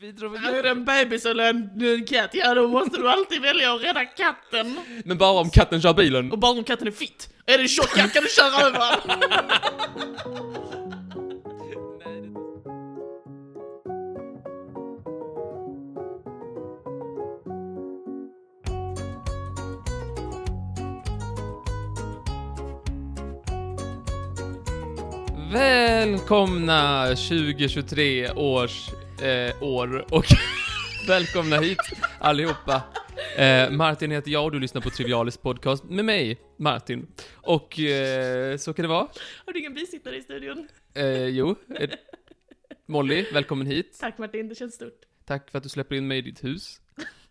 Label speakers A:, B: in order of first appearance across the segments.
A: Vi drog väl
B: Är det en bebis eller en, en katt? Ja, då måste du alltid välja att rädda katten.
A: Men bara om katten kör bilen.
B: Och bara om katten är fitt. Är det en tjock katt kan du köra över den.
A: Välkomna 2023 års eh, år och välkomna hit allihopa. Eh, Martin heter jag och du lyssnar på Trivialis podcast med mig, Martin. Och eh, så kan det vara.
B: Har du ingen bisittare i studion?
A: Eh, jo, eh, Molly, välkommen hit.
B: Tack Martin, det känns stort.
A: Tack för att du släpper in mig i ditt hus.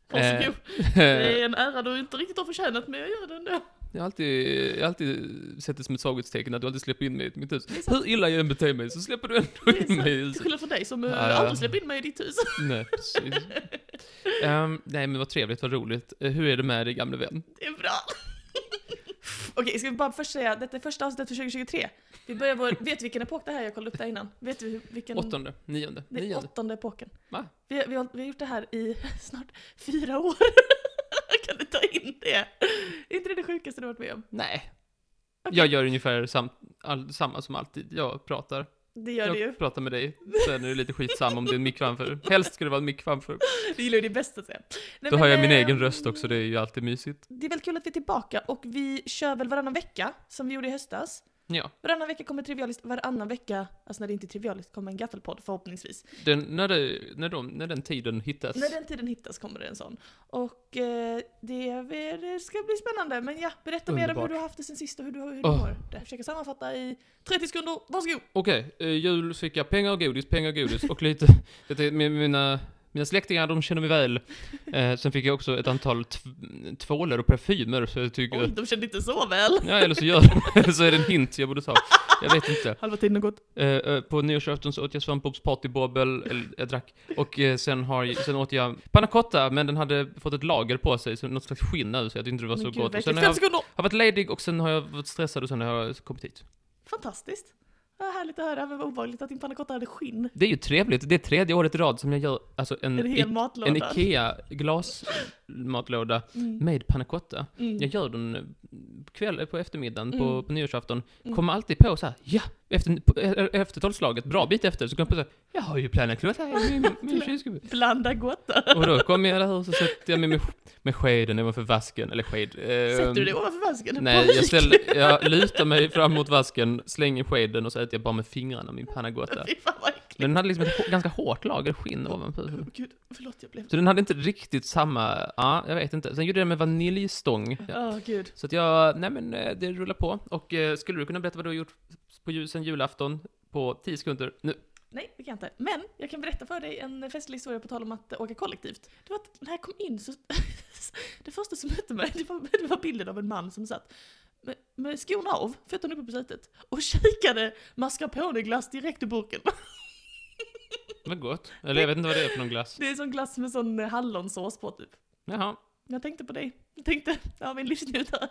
B: Varsågod.
A: Eh,
B: Det är en ära du inte riktigt har förtjänat, men jag gör det ändå.
A: Jag har alltid, jag har alltid sett det som ett svaghetstecken att du alltid släpper in mig i mitt hus. Hur illa jag än beter mig så släpper du
B: Det
A: ändå
B: är
A: in mig i
B: sant. Till
A: huset.
B: skillnad från dig som
A: Ja,
B: eh,
A: ja.
B: aldrig släpper in mig i ditt hus.
A: Nej, precis. Ehm, nej, men vad trevligt, vad roligt. Eh, Hur är det med dig, gamle vän?
B: Det är bra. Okej, ska vi bara först säga, detta är första avsnittet för 2023. Vi börjar vår, vet du vilken epok det här är? Jag kollade upp det här innan. Vet du hur- vilken?
A: Åttonde? Nionde?
B: Det är
A: Nionde?
B: åttonde epoken.
A: Va?
B: Vi, vi, har, vi har gjort det här i snart fyra år. kan du ta in det? Är inte det det sjukaste du har varit med om?
A: Nej. Jag gör ungefär sam, all, samma som alltid. Jag pratar.
B: Det gör
A: jag
B: det ju.
A: pratar med dig. Sen är det lite skitsamma om det är en mick framför. Helst ska det vara en mick framför.
B: Det gillar ju det bästa sen. Nej,
A: Då
B: men,
A: har jag min
B: eh,
A: egen röst också, det är ju alltid mysigt.
B: Det är väldigt kul att vi är tillbaka och vi kör väl varannan vecka som vi gjorde i höstas.
A: Ja.
B: Varannan vecka kommer Trivialist, varannan vecka, alltså när det inte är Trivialist, kommer en gaffelpodd förhoppningsvis.
A: Den, när, det, när, de, när den tiden hittas.
B: När den tiden hittas kommer det en sån. Och eh, det, är väl- det ska bli spännande. Men ja, berätta mer om hur
A: Underbart.
B: du har haft det sen sist och hur du, hur du
A: Åh.
B: mår. Det försöker sammanfatta i 30 sekunder. Varsågod!
A: Okej, eh, jul så fick jag pengar och godis, pengar och godis och lite... Det är, mi- mina, mina släktingar, de känner mig väl. Eh, sen fick jag också ett antal tv- tvålar och parfymer, så jag tycker...
B: Oj, de kände inte så väl.
A: Ja, eller så gör de Eller så är det en hint jag borde ta. Jag vet inte.
B: Halva tiden har gått.
A: Eh, eh, på nyårsafton så åt jag svampbobs partybobbel, eller jag drack. Och eh, sen, har, sen åt jag panna cotta, men den hade fått ett lager på sig, så något slags skinn över, så jag tyckte det var så gott. Och sen
B: verkligen.
A: har
B: Fem
A: jag,
B: sekunder!
A: har varit ledig och sen har jag varit stressad och sen har jag kommit hit.
B: Fantastiskt. Vad härligt att höra, men vad obehagligt att din pannacotta hade skinn.
A: Det är ju trevligt, det är tredje året i rad som jag gör alltså en,
B: En hel matlåda.
A: en IKEA glasmatlåda
B: Mm.
A: med panna cotta.
B: Mm.
A: Jag gör den eh, kväll, eh, på eftermiddagen på,
B: Mm.
A: på nyårsafton.
B: Mm.
A: Kommer alltid på så här, ja! Efter, på, e- efter tolvslaget, bra bit efter, så kommer jag på så här, jag har ju panna cotta i min, min kylskåp.
B: Blanda gott.
A: Och då kommer jag där och så sätter jag mig med, med skeden ovanför vasken, eller sked. eh,
B: Sätter du det ovanför vasken?
A: Nej, jag,
B: Panik.
A: ställer, jag lutar mig fram mot vasken, slänger skeden och så äter jag bara med fingrarna min panna cotta.
B: Fy fan vad äckligt.
A: Men den hade liksom ett hå- ganska hårt lager skinn ovanpå.
B: Åh, Gud, förlåt jag blev...
A: Så den hade inte riktigt samma, ja, jag vet inte. Sen gjorde jag den med vaniljstång. Ja.
B: Åh gud.
A: Så att jag, nej men eh, det rullar på. Och eh, skulle du kunna berätta vad du har gjort på ju- sen julafton på 10 sekunder? Nu.
B: Nej, det kan jag inte. Men jag kan berätta för dig en festlig historia på tal om att eh, åka kollektivt. Det var att när jag kom in så... det första som mötte mig, det var, det var bilden av en man som satt med, med skorna av, fötterna uppe på sätet, och kikade mascarponeglass direkt ur burken.
A: Vad gott. Eller jag vet inte vad det är för någon glass.
B: Det är sån glass med sån eh, hallonsås på typ.
A: Jaha.
B: Jag tänkte på dig. Jag tänkte, ja min livsnjutare.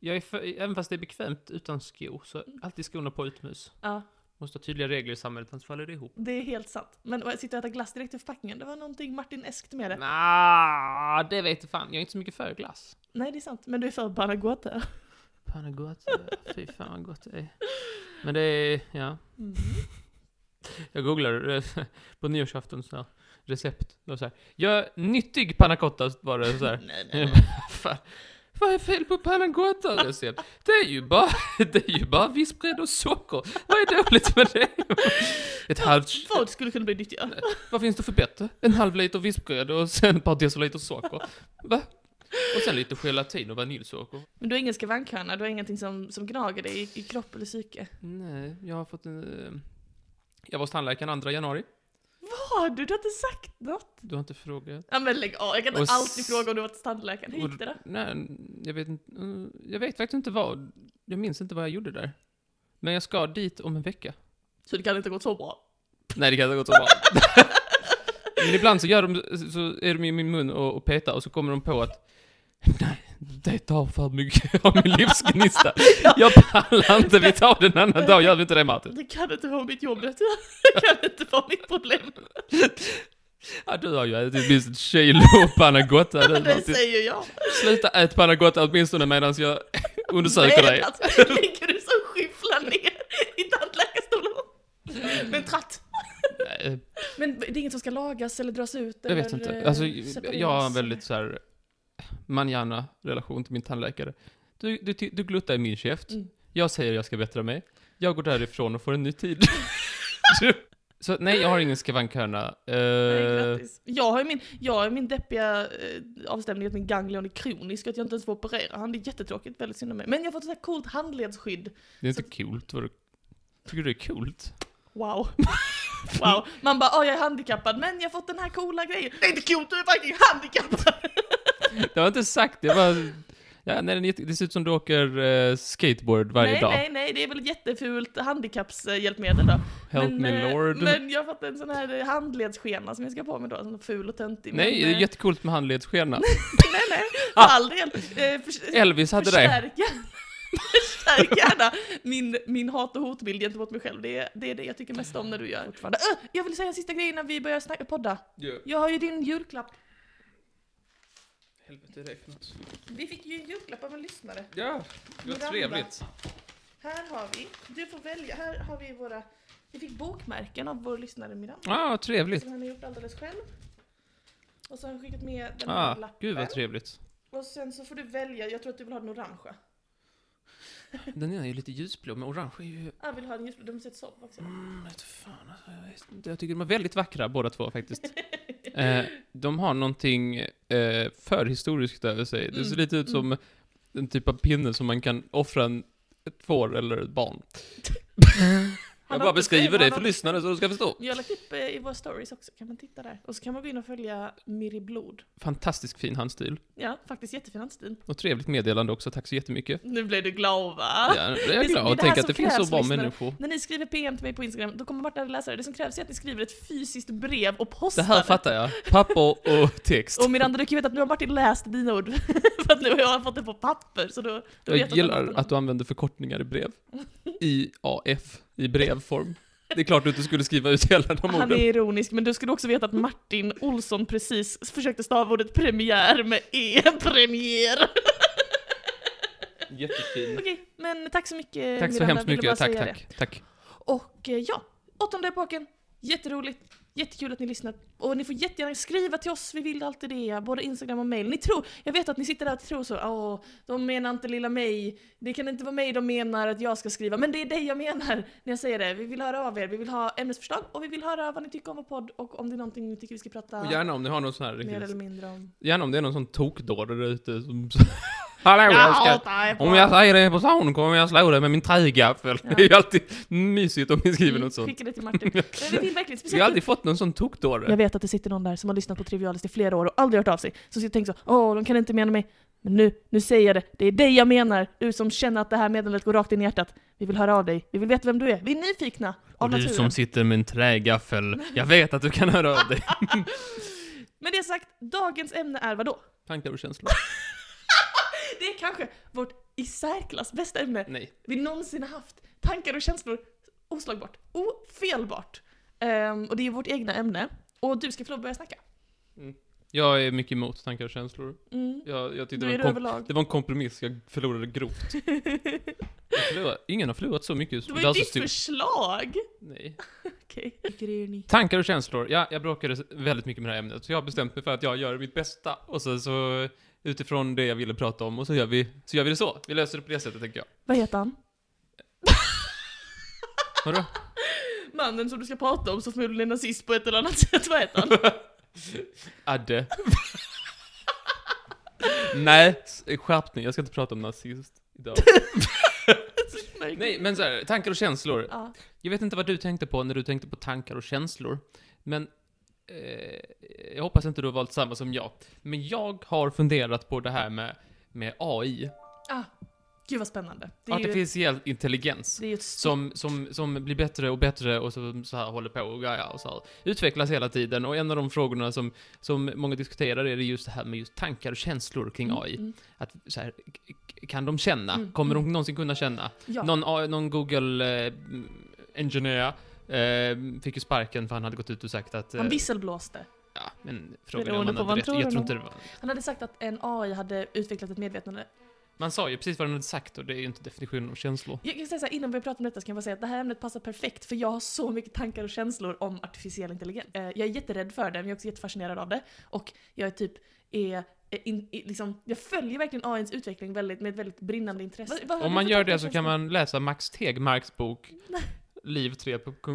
A: Jag är för, även fast det är bekvämt utan skor, så alltid skorna på utomhus.
B: Ja,
A: Måste ha tydliga regler i samhället, annars faller det ihop.
B: det är helt sant. Men att sitta och äta glass direkt ur förpackningen, det var någonting Martin Eskt med det.
A: Nja, det vet du fan. Jag är inte så mycket för glass.
B: Nej, det är sant. Men du är för Banagota.
A: Fan vad gott det är. Fy fan vad gott det är. Men det är, ja. Jag googlar eh, på nyårsafton så här, recept. Och så här, gör nyttig panna cotta var det så här.
B: Nej, nej,
A: Jag
B: nej.
A: bara, Fan, vad är fel på panna cotta recept? Det är ju bara, det är ju bara vispgrädde och socker. Vad är dåligt med det? Ett halvt,
B: Vad skulle kunna bli nyttigare?
A: vad finns det för bättre? En halv liter vispgrädde och sen ett par deciliter socker. Va? Och sen lite gelatin och vaniljsocker.
B: Men du har ingen skavankhörna, du har ingenting som, som gnager dig i, i kropp eller psyke.
A: Nej, jag har fått en... eh, Jag var hos tandläkaren 2 januari.
B: Vad? Du har inte sagt något?
A: Du har inte frågat.
B: Ja men lägg av, jag kan inte
A: Och s-
B: alltid fråga om du har varit hos tandläkaren. Hur gick det då?
A: Nej, jag vet inte... eh, Jag vet faktiskt inte vad... Jag minns inte vad jag gjorde där. Men jag ska dit om en vecka.
B: Så det kan inte ha gått så bra.
A: Nej, det kan inte ha gått så bra. Men ibland så gör de... Så är de i min mun och, och petar och så kommer de på att... Nej, det tar för mycket av min livsgnista. Jag pallar inte, vi tar den annan dag. Gör vi inte det, Martin?
B: Det kan inte vara mitt jobb, vet du. Det kan inte vara mitt problem.
A: Ja, du har ju ätit minst ett kilo Panagotta du
B: det
A: Martin.
B: säger jag.
A: Sluta ät Panagotta åtminstone medan jag undersöker
B: Nej,
A: dig.
B: Alltså, ligger du som skyfflar ner i tandläkarstolen? Med en tratt.
A: Nej,
B: Men det är inget som ska lagas eller dras ut?
A: Jag
B: eller,
A: vet inte.
B: eh,
A: Alltså,
B: separeras?
A: jag har en väldigt så här eh, manjana-relation till min tandläkare. Du, du, ty- du gluttar i min käft.
B: Mm.
A: Jag säger jag ska bättra mig. Jag går därifrån och får en ny tid. Du- så nej, jag har ingen skavankhörna.
B: Nej,
A: Eh,
B: grattis. Jag har ju min, jag har ju min deppiga eh, avstämning att min ganglion är kronisk och att jag inte ens får operera han. Det är jättetråkigt, väldigt synd om mig. Men jag har fått ett så här coolt handledsskydd.
A: det är inte kul. Vad- Tycker du det är kul?
B: Wow. Wow. Man bara, åh jag är handikappad, men jag har fått den här coola grejen. Det är inte coolt, du är verkligen handikappad!
A: Det har inte sagt, det var... Ja, nej, den är jätte- det ser ut som du åker eh, skateboard varje
B: nej,
A: dag.
B: nej, nej, det är väl ett jättefult handikappshjälpmedel då.
A: Help
B: men,
A: me
B: eh,
A: lord.
B: Men jag har fått en sån här eh, handledsskena som jag ska på mig då, sån ful och töntig.
A: nej,
B: men,
A: det
B: eh,
A: är Ah! jättekult med handledsskena.
B: Nej, nej, för all del. Eh, förs-
A: Elvis hade det.
B: förstärk gärna, förstärk gärna min, min hat och hotbild gentemot mig själv. Det är, det är det jag tycker mest om när du gör. Fortfarande. Öh, jag vill säga en sista grej innan vi börjar snacka, podda. Jag har ju din julklapp.
A: Helvete, räknas.
B: Vi fick ju en julklapp av en lyssnare.
A: Ja,
B: Miranda. trevligt. Här har vi, du får välja, här har vi våra, vi fick bokmärken av vår lyssnare Miranda.
A: Ja, ah, trevligt.
B: Som han har gjort alldeles själv. Och så har han skickat med den här
A: Ah,
B: lappen.
A: gud vad trevligt.
B: och sen så får du välja, jag tror att du vill ha den orangea.
A: Den ena är ju lite ljusblå, men orange är ju...
B: Jag vill ha den ljusblå, de ser ett sopp också.
A: Mm, vet fan, alltså, jag vet inte. jag tycker de är väldigt vackra båda två faktiskt. eh, de har någonting eh, förhistoriskt över sig. Det ser
B: Mm,
A: lite ut som en typ av pinne som man kan offra en, ett får eller ett barn.
B: Han
A: Jag
B: har
A: bara
B: inte
A: beskriver
B: själv-
A: det
B: han
A: för
B: har-
A: lyssnarna så de ska förstå.
B: Jag har lagt upp eh, i våra stories också, kan man titta där. Och så kan man gå in och följa Miri Blod.
A: Fantastiskt fin handstil.
B: Ja, faktiskt jättefin handstil.
A: Och trevligt meddelande också, tack så jättemycket.
B: Nu blev du glad va?
A: Ja, jag
B: det
A: är glad
B: här
A: och tänker
B: som
A: att det finns så
B: krävs,
A: bra
B: lyssnare.
A: människor.
B: När ni skriver PM till mig på Instagram, då kommer Martin att läsa det. Det som krävs är att ni skriver ett fysiskt brev och
A: Det
B: postar
A: här fattar jag. Papper och text.
B: Och Miranda, du kan ju veta att nu har Martin läst dina ord. för att nu har jag fått det på papper. Så då, då vet
A: Jag
B: att
A: gillar
B: han-
A: att du använder förkortningar i brev. IAF, i brevform. Det är klart du inte skulle skriva ut hela de
B: Han är
A: orden.
B: ironisk, men du skulle också veta att Martin Olsson precis försökte stava ordet premiär med E, premiär.
A: Jättefin.
B: Okej, men tack så mycket
A: Tack så
B: Miranda.
A: hemskt
B: Ville bara
A: mycket. Tack,
B: säga det.
A: tack, tack.
B: Och eh, ja, åttonde epoken. Jätteroligt. Jättekul att ni lyssnar. Och ni får jättegärna skriva till oss, vi vill alltid det. Både Instagram och mail. Ni tror, jag vet att ni sitter där och tror så, åh, de menar inte lilla mig. Det kan inte vara mig de menar att jag ska skriva. Men det är dig jag menar när jag säger det. Vi vill höra av er, vi vill ha ämnesförslag och vi vill höra vad ni tycker om vår podd och om det är någonting ni tycker vi ska prata
A: Och gärna om ni har någon sån här
B: mer eller
A: riktigt...
B: mindre om.
A: Gärna om det är någon sån tokdåre där ute som... Hallå, jag ska...
B: hatar er
A: Om jag säger det på stan kommer jag slå dig med min trägaffel.
B: Ja.
A: Det är ju alltid mysigt om ni skriver något sånt.
B: Skicka det till Martin. Men vi vill verkligen,
A: Vi har
B: speciellt
A: aldrig fått någon sån tokdåre.
B: Jag vet att det sitter någon där som har lyssnat på Trivialist i flera år och aldrig hört av sig, som sitter och tänker så åh, de kan inte mena mig. Men nu, nu säger jag det, det är dig jag menar, du som känner att det här meddelandet går rakt in i hjärtat. Vi vill höra av dig, vi vill veta vem du är, vi är nyfikna av
A: Och du
B: naturen.
A: som sitter med en trägaffel, jag vet att du kan höra av dig.
B: Med det sagt, dagens ämne är vadå?
A: Tankar och känslor?
B: Det är kanske vårt i särklass bästa ämne
A: Nej.
B: vi någonsin har haft. Tankar och känslor, oslagbart, ofelbart. Ehm, och det är vårt egna ämne, och du ska få lov att börja snacka.
A: Jag är mycket emot tankar och känslor.
B: Mm.
A: Jag, jag tyckte
B: Då
A: det var,
B: är det
A: en komp-
B: överlag.
A: det var en kompromiss, jag förlorade grovt. Jag förlorade. Ingen har förlorat så mycket
B: Det
A: som
B: var ju
A: dansa
B: ditt
A: styr-
B: förslag!
A: typ- Nej.
B: Okej.
A: Tankar och känslor, ja, jag bråkade s- väldigt mycket med det här ämnet. Så jag har bestämt mig för att jag gör mitt bästa. Och så, så utifrån det jag ville prata om, och så gör vi, så gör vi det så. Vi löser det på det sättet, tänker jag.
B: Vad heter han?
A: Vadå?
B: Mannen som du ska prata om som förmodligen är nazist på ett eller annat sätt, vad heter han?
A: Adde. Nej, s- skärpning. Jag ska inte prata om nazist idag. Nej, men så här, tankar och känslor.
B: Ja.
A: Jag vet inte vad du tänkte på när du tänkte på tankar och känslor, men eh, jag hoppas inte du har valt samma som jag. Men jag har funderat på det här med, med AI,
B: Ah, gud vad spännande. Det är, ju,
A: artificiell intelligens.
B: det är ju ett stort...
A: Som, som, som blir bättre och bättre och som så här håller på och grejer och så här, utvecklas hela tiden. Och en av de frågorna som, som många diskuterar är det just det här med just tankar och känslor kring AI.
B: Mm, mm.
A: Att, så här, k- k- kan de känna?
B: Mm,
A: Kommer de
B: mm.
A: någonsin kunna känna?
B: Ja.
A: Någon, AI någon Google-ingenjör fick ju eh, sparken för han hade gått ut och sagt att... eh,
B: Han visselblåste.
A: Ja, men frågan är om
B: Beroende
A: man
B: på
A: hade
B: vad
A: rätt.
B: man
A: Jag tror
B: tror
A: inte det var...
B: Han hade sagt att en AI hade utvecklat ett medvetande.
A: Man sa ju precis vad den hade sagt och det är ju inte definitionen av känslor.
B: Jag kan säga så här, innan vi pratar om detta så kan jag bara säga att det här ämnet passar perfekt för jag har så mycket tankar och känslor om artificiell intelligens. Eh, Jag är jätterädd för det, men jag är också jättefascinerad av det. Och jag är typ, är, är in, i- liksom, jag följer verkligen AIns utveckling väldigt, med ett väldigt brinnande intresse. Vad- vad har
A: Om
B: du
A: man
B: för
A: gör
B: tankar
A: det
B: och
A: så kan
B: känslor?
A: man läsa Max Tegmarks bok Liv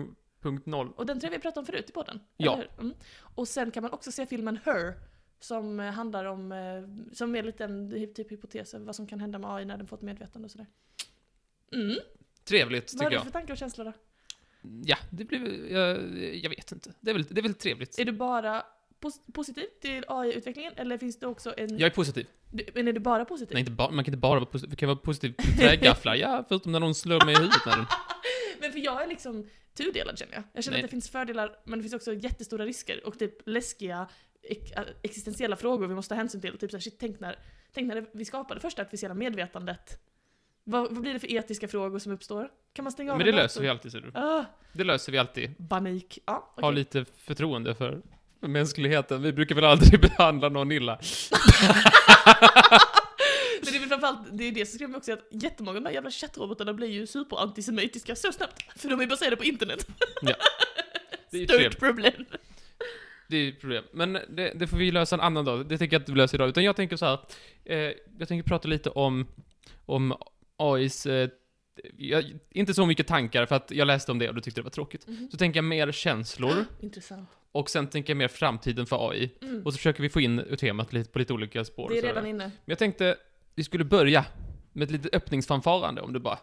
A: 3.0.
B: Och den tror jag vi pratade om förut i podden.
A: Ja.
B: eller hur? Mm. Och sen kan man också se filmen Her, som eh, handlar om, eh, som är lite en hy- typ hypotes över vad som kan hända med AI när den får ett medvetande och sådär. Mm.
A: Trevligt,
B: Vad
A: tycker
B: har du
A: jag.
B: för tankar och känslor då?
A: Ja, det blir... Jag, jag vet inte. Det är väl, det är väl trevligt.
B: Är du bara pos- positiv till AI-utvecklingen eller finns det också en...
A: Jag är positiv.
B: Du, men är du bara positiv?
A: Nej, inte bara, man kan inte bara vara positiv. Man kan vara positiv till trägafflar, ja, förutom när någon slår mig i huvudet med den.
B: men för jag är liksom tudelad känner jag. Jag känner
A: Nej.
B: att det finns fördelar men det finns också jättestora risker och typ läskiga ek- äh, existentiella frågor vi måste ta hänsyn till. Typ såhär, shit, tänk när, tänk när det- vi skapade första artificiella medvetandet. Vad, vad blir det för etiska frågrågor som uppstår? Kan man stänga av
A: Men det löser vi alltid, ser du.
B: Ah,
A: Det löser vi alltid.
B: panik. Ja,
A: Ha
B: okej.
A: lite förtroende för för mänskligheten. Vi brukar väl aldrig behandla någon illa.
B: Men det är väl framförallt, det är det som skrämmer mig också, att jättemånga av de här jävla chattrobotarna blir ju superantisemitiska så snabbt. För de är baserade på internet.
A: Ja. Det är ju
B: Stort
A: trevligt.
B: problem.
A: Det är ju ett problem. Men det, det får vi lösa en annan dag. Det tänker jag inte vi löser idag. Utan jag tänker så här. Eh, jag tänker prata lite om, om AIs... Eh, jag, inte så mycket tankar, för att jag läste om det och du tyckte det var tråkigt.
B: Mhm.
A: Så tänker jag mer känslor,
B: Intressant.
A: och sen tänker jag mer framtiden för AI.
B: Mm.
A: Och så försöker vi få in temat lite, på lite olika spår.
B: Det är
A: och sådär.
B: redan inne.
A: Men jag tänkte vi skulle börja med ett litet öppningsfanfarande om du bara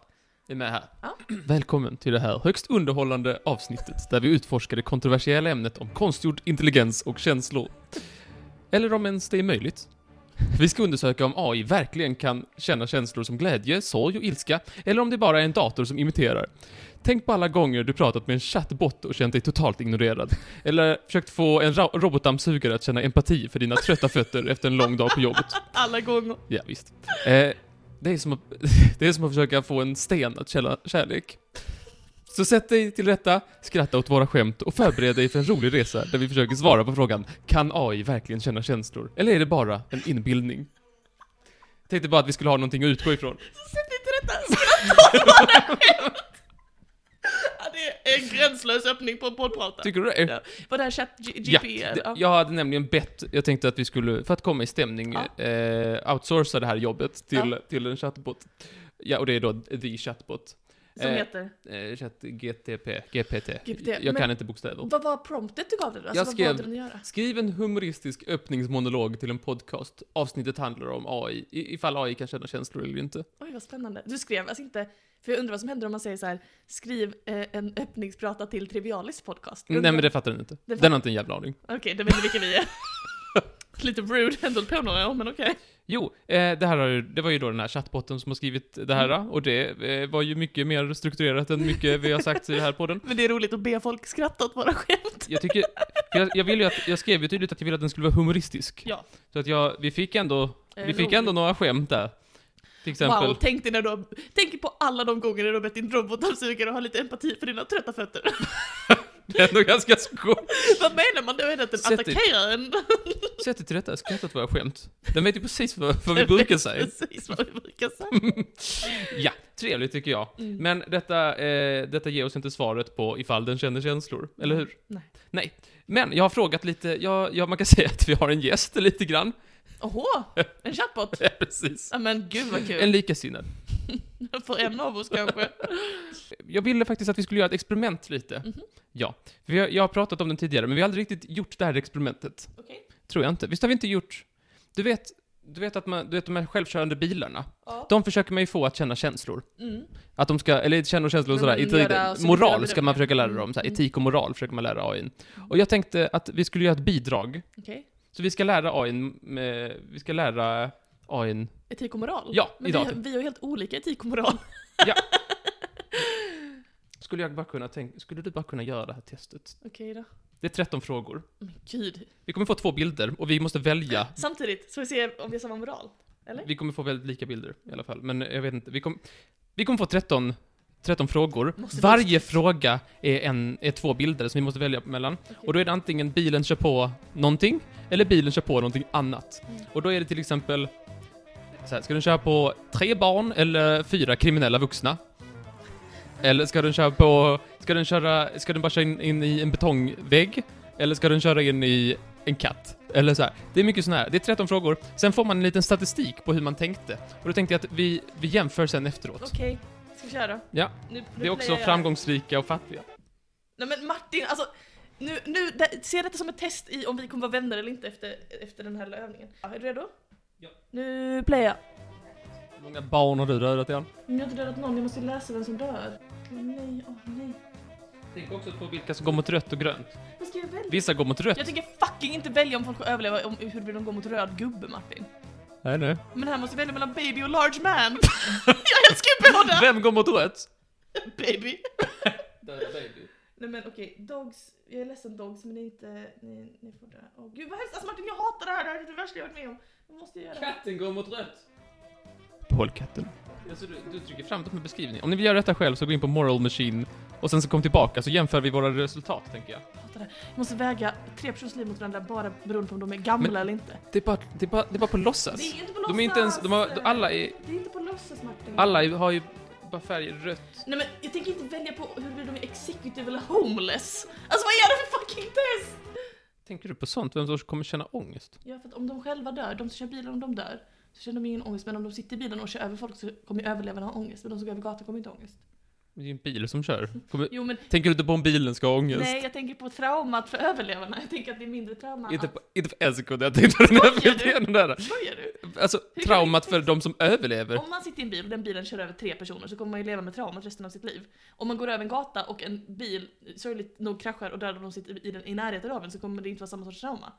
A: är med här.
B: Ja.
A: Välkommen till det här högst underhållande avsnittet där vi utforskar det kontroversiella ämnet om konstgjord intelligens och känslor. Eller om ens det är möjligt. Vi ska undersöka om AI verkligen kan känna känslor som glädje, sorg och ilska, eller om det bara är en dator som imiterar. Tänk på alla gånger du pratat med en chattbot och känt dig totalt ignorerad. Eller försökt få en ra- robotdammsugare att känna empati för dina trötta fötter efter en lång dag på jobbet.
B: Alla gånger.
A: Ja, visst. Eh, det, är som att, det är som att försöka få en sten att känna kärlek. Så sätt dig till rätta, skratta åt våra skämt och förbered dig för en rolig resa där vi försöker svara på frågan Kan AI verkligen känna känslor? Eller är det bara en inbildning? Tänkte bara att vi skulle ha någonting att utgå ifrån.
B: Sätt dig till rätta, skratta åt våra skämt! Ja, Det är en gränslös öppning på en poddprata.
A: Tycker du det?
B: Ja. Var det här chat G-
A: Ja,
B: GP?
A: det-
B: Ja.
A: jag hade nämligen bett, jag tänkte att vi skulle, för att komma i stämning,
B: Ja.
A: eh, outsourca det här jobbet till,
B: Ja.
A: till en chatbot. Ja, och det är då the chatbot.
B: Som
A: eh,
B: heter?
A: Eh, Chat GTP, GPT.
B: GPT,
A: Jag kan
B: men-
A: inte bokstäver.
B: Vad var promptet du gav den? Alltså,
A: oh. Jag skrev-
B: Vad valde den att göra?
A: Skriv en humoristisk öppningsmonolog till en podcast. Avsnittet handlar om AI, i- ifall AI kan känna känslor eller inte.
B: Oj, vad spännande. Du skrev alltså inte... För jag undrar vad som händer om man säger så här, skriv eh, en öppningsprata till Trivialis podcast.
A: Nej men det fattar den inte.
B: Det
A: Den har inte en jävla aning.
B: Okej, det vet inte vilka vi är. Lite rude, ändå på några år, men okej.
A: Jo, eh, det här har ju- det var ju då den här chattbotten som har skrivit det här
B: Mm.
A: och det eh, var ju mycket mer strukturerat än mycket vi har sagt i den här podden.
B: Men det är roligt att be folk skratta åt våra skämt.
A: Jag tycker, för jag, jag vill ju att, jag skrev ju tydligt att jag ville att den skulle vara humoristisk.
B: Ja.
A: Så att jag, vi fick ändå,
B: Eh,
A: vi fick
B: roligt.
A: ändå några skämt där. Till exempel.
B: Wow, tänk, dig när du har, tänk på alla de gånger när du har bett din robotdammsugare och har lite empati för dina trötta fötter.
A: Det är ändå ganska skoj.
B: Vad menar man då? Är det att den
A: Sätt dig-
B: attackerar en?
A: Sätt dig till rätta, skratta åt våra skämt. Den vet ju precis vad, vad vi brukar säga.
B: Precis vad vi brukar säga.
A: Ja, trevligt tycker jag.
B: Mm.
A: Men detta, eh, detta ger oss inte svaret på ifall den känner känslor, eller hur?
B: Nej.
A: Nej. Men jag har frågat lite, ja, ja, man kan säga att vi har en gäst lite grann.
B: Åhå, en chatbot?
A: Ja, precis.
B: Ja men gud vad
A: En
B: kul.
A: likasinnad.
B: För en av oss kanske.
A: Jag ville faktiskt att vi skulle göra ett experiment lite.
B: Mhm.
A: Ja. För jag, jag har pratat om den tidigare, men vi har aldrig riktigt gjort det här experimentet.
B: Okej.
A: Tror jag inte. Visst har vi inte gjort... Du vet, du vet att man, du vet de här självkörande bilarna?
B: Ja.
A: De försöker man ju få att känna känslor.
B: Mm.
A: Att de ska, eller känna känslor och
B: Men
A: sådär,
B: man
A: inte riktigt.
B: göra subjektiva
A: moral ska
B: bedömningar.
A: man försöka lära dem,
B: Mm,
A: såhär,
B: mm.
A: etik och moral försöker man lära AI. Och jag tänkte att vi skulle göra ett bidrag,
B: Okej.
A: så vi ska lära AI, med, vi ska lära AI,
B: Etik och moral?
A: Ja,
B: men
A: idag. typ.
B: Vi, vi har ju helt olika etik och moral.
A: skulle jag bara kunna tänka, skulle du bara kunna göra det här testet?
B: Okej då.
A: Det är 13 frågor.
B: Men gud.
A: Vi kommer få två bilder, och vi måste välja.
B: Samtidigt, så vi ser om vi har samma moral. Eller?
A: Vi kommer få väldigt lika bilder i alla fall, men jag vet inte, vi kommer, vi kommer få 13 13 frågor.
B: Måste
A: Varje fråga är, en, är två bilder som vi måste välja mellan. Och då är det antingen bilen kör på någonting, eller bilen kör på någonting annat.
B: Mm.
A: Och då är det till exempel, så här, ska den köra på tre barn eller fyra kriminella vuxna? Eller ska den köra på, ska den köra, ska den bara köra in, in i en betongvägg? Eller ska den köra in i en katt? Eller så här. Det är mycket sådana här, det är 13 frågor. Sen får man en liten statistik på hur man tänkte. Och då tänkte jag att vi, vi jämför sen efteråt.
B: Okej, ska vi köra?
A: Ja,
B: Nu, nu
A: Det är också
B: playar jag.
A: framgångsrika och fattiga.
B: Nej men Martin, alltså nu, nu det, ser detta som ett test i om vi kommer vara vänner eller inte efter, efter den här lilla övningen. Ja, är du redo?
A: Ja.
B: Nu playar jag.
A: Hur många barn har du dödat Jan?
B: Men jag har inte dödat någon, jag måste ju läsa vem som dör. Åh nej, åh nej.
A: Tänk också på vilka som går mot rött och grönt.
B: Vad ska jag välja?
A: Vissa går mot rött.
B: Jag tänker fucking inte välja om folk får överleva om huruvida de går mot röd gubbe Martin.
A: Nej, nej.
B: Men här måste jag välja mellan baby och large man. jag älskar ju båda!
A: Vem går mot rött?
B: Baby.
A: Döda baby.
B: Nej men okej, dogs. Jag är ledsen dogs men det är inte, ni, ni får dö. Åh gud vad hemskt, alltså Martin jag hatar det här, det här är det värsta jag varit med om. Vad måste jag göra?
A: Katten går mot rött. Polkatten. Alltså, du, du trycker framåt med beskrivning. Om ni vill göra detta själv så gå in på Moral Machine och sen så kom tillbaka så jämför vi våra resultat tänker jag.
B: Jag hatar det här. Jag måste väga tre personers liv mot varandra bara beroende på om de är gamla
A: Men-
B: eller inte.
A: Det är bara, det är bara, det är bara på låtsas.
B: Det är inte på låtsas! eh,
A: De är inte ens, de har, alla är,
B: Det är inte på låtsas Martin.
A: alla är- har ju bara färger rött.
B: Nej men jag tänker inte välja på huruvida de är executive eller homeless. Alltså vad är det för fucking test?
A: Tänker du på sånt? Vem som kommer känna ångest?
B: Ja för att om de själva dör, de som kör bilen om de dör, så känner de ingen ångest. Men om de sitter i bilen och kör över folk så kommer ju överlevarna ha ångest. Men de som går över gatan kommer inte ha ångest.
A: Det är ju en bil som kör. Kommer,
B: Jo men
A: tänker du inte på om bilen ska ha ångest?
B: nej jag tänker på traumat för överlevarna. Jag tänker att det är mindre trauma.
A: Inte
B: att-
A: på, inte på en sekund, jag tänkte på den här
B: Skojar du?
A: bilden där.
B: Skojar du?
A: Alltså,
B: vi
A: traumat för de som överlever.
B: Om man sitter i en bil och den bilen kör över tre personer så kommer man ju leva med traumat resten av sitt liv. Om man går över en gata och en bil sorgligt nog kraschar och dödar de som sitter i, den, i närheten av en så kommer det inte vara samma sorts trauma.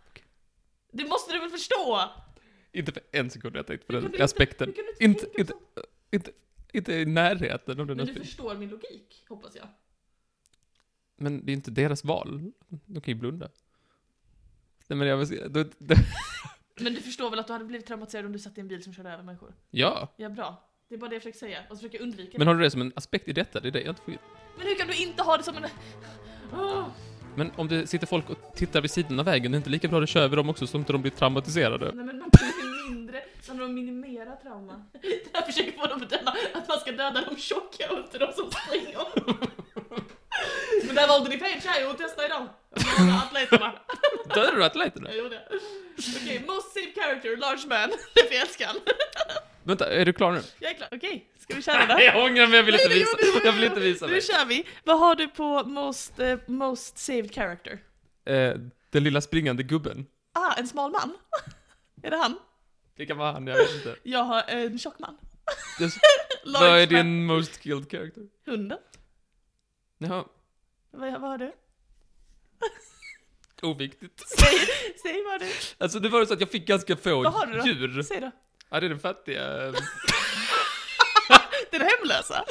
B: Det måste du väl förstå?
A: Inte för en sekund jag tänkte på
B: Hur kan du
A: den
B: inte-
A: aspekten.
B: hur kan du inte
A: Inte,
B: tänka
A: inte, inte, inte i närheten av den
B: Men du
A: aspekten.
B: förstår min logik, hoppas jag.
A: Men det är inte deras val. De kan ju blunda. Nej men jag vill se, då, då,
B: Men du förstår väl att du hade blivit traumatiserad om du satt i en bil som körde över människor?
A: ja.
B: Ja, bra. Det är bara det jag försöker säga, och så försöker jag undvika
A: Men
B: det.
A: har du det som en aspekt i detta? Det är det jag inte får in.
B: Men hur kan du inte ha det som en... Åh!
A: Men om det sitter folk och tittar vid sidan av vägen, det är inte lika bra att köra över dem också så inte de blir traumatiserade.
B: Nej men man blir mindre, så när de minimerar trauma. Det här försöker få dem att döda, att man ska döda de tjocka och inte de som springer. Men där valde ni fel tjej och testa idag. Jag menar Atleterna.
A: Dödar du atleterna?
B: Jag gjorde det. Okej, most safe character, large man. Det får jag älska han.
A: Vänta, är du klar nu?
B: Jag är klar. Okej, ska vi köra då?
A: Jag ångrar mig, jag vill inte
B: Nej, det
A: visa,
B: gjorde du.
A: jag vill inte visa
B: Nu
A: mig.
B: kör vi. Vad har du på most, eh, most saved character?
A: Eh, den lilla springande gubben.
B: Ah, en smal man. är det han?
A: Det kan vara han, jag vet inte.
B: Jag har en tjock man.
A: Just,
B: Large
A: vad är
B: man.
A: din most killed character?
B: Hunden.
A: Jaha,
B: Vad, vad har du?
A: oviktigt.
B: Säg, säg vad har du
A: Alltså det var så att jag fick ganska få
B: Vad har du då?
A: djur.
B: Säg då.
A: Ja, det är den fattiga.
B: Den hemlösa.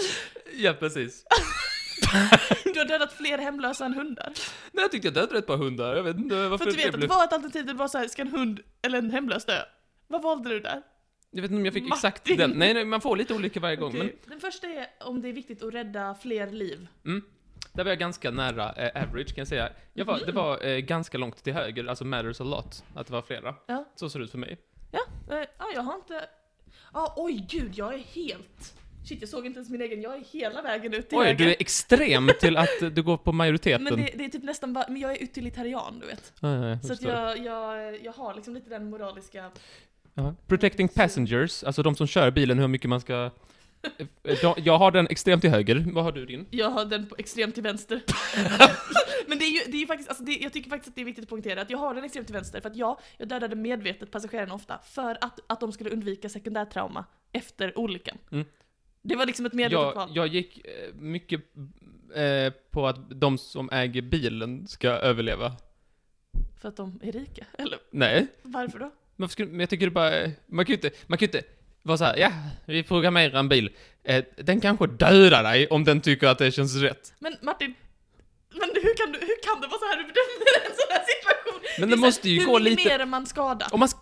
A: Ja, precis.
B: Du har dödat fler hemlösa än hundar.
A: Nej, jag tyckte jag dödade ett par hundar. Jag vet inte varför
B: För att du
A: det
B: vet att det
A: blev...
B: var ett alternativ där det var så här, ska en hund eller en hemlös dö? Vad valde du där?
A: Jag vet inte om jag fick exakt
B: Martin.
A: den. Nej, nej, man får lite olika varje gång. Men
B: Okej. Den första är om det är viktigt att rädda fler liv.
A: där var jag ganska nära eh, average, kan jag säga. Jag var,
B: Mm.
A: Det var eh, ganska långt till höger, alltså matters a lot, att det var flera.
B: Ja.
A: Så ser det ut för mig.
B: Ja, eh, ja jag har inte... Ah, oj gud, jag är helt... Shit, jag såg inte ens min egen. Jag är hela vägen ut till
A: Oj,
B: höger.
A: du är extrem till att eh, du går på majoriteten.
B: Men det, det är typ nästan bara... Men jag är utilitarian, du vet.
A: Ja, ja, jag
B: Så att
A: förstår.
B: jag, jag, jag har liksom lite den moraliska...
A: Jaha. Protecting passengers, alltså de som kör bilen, hur mycket man ska... Eh, de- Jag har den extremt till höger, vad har du din?
B: Jag har den på extremt till vänster. Men det är ju, det är ju faktiskt, alltså det, jag tycker faktiskt att det är viktigt att poängtera att jag har den extremt till vänster för att jag, jag dödade medvetet passagerarna ofta för att, att de skulle undvika sekundärtrauma efter olyckan.
A: Mm.
B: Det var liksom ett medvetet
A: Jag,
B: val.
A: jag gick eh, mycket eh, på att de som äger bilen ska överleva.
B: För att de är rika, eller
A: Nej,
B: varför då?
A: varför skulle, men jag tycker det bara... Man kan ju inte, man kan ju inte vara så här, ja, vi programmerar en bil. Eh, den kanske dödar dig om den tycker att det känns rätt.
B: Men Martin, men hur kan, du, hur kan det vara så här du bedömer en sån här situation?
A: Men
B: är
A: det
B: så här,
A: måste ju gå
B: Hur
A: lite-
B: minimerar man skada?
A: Om man... sk-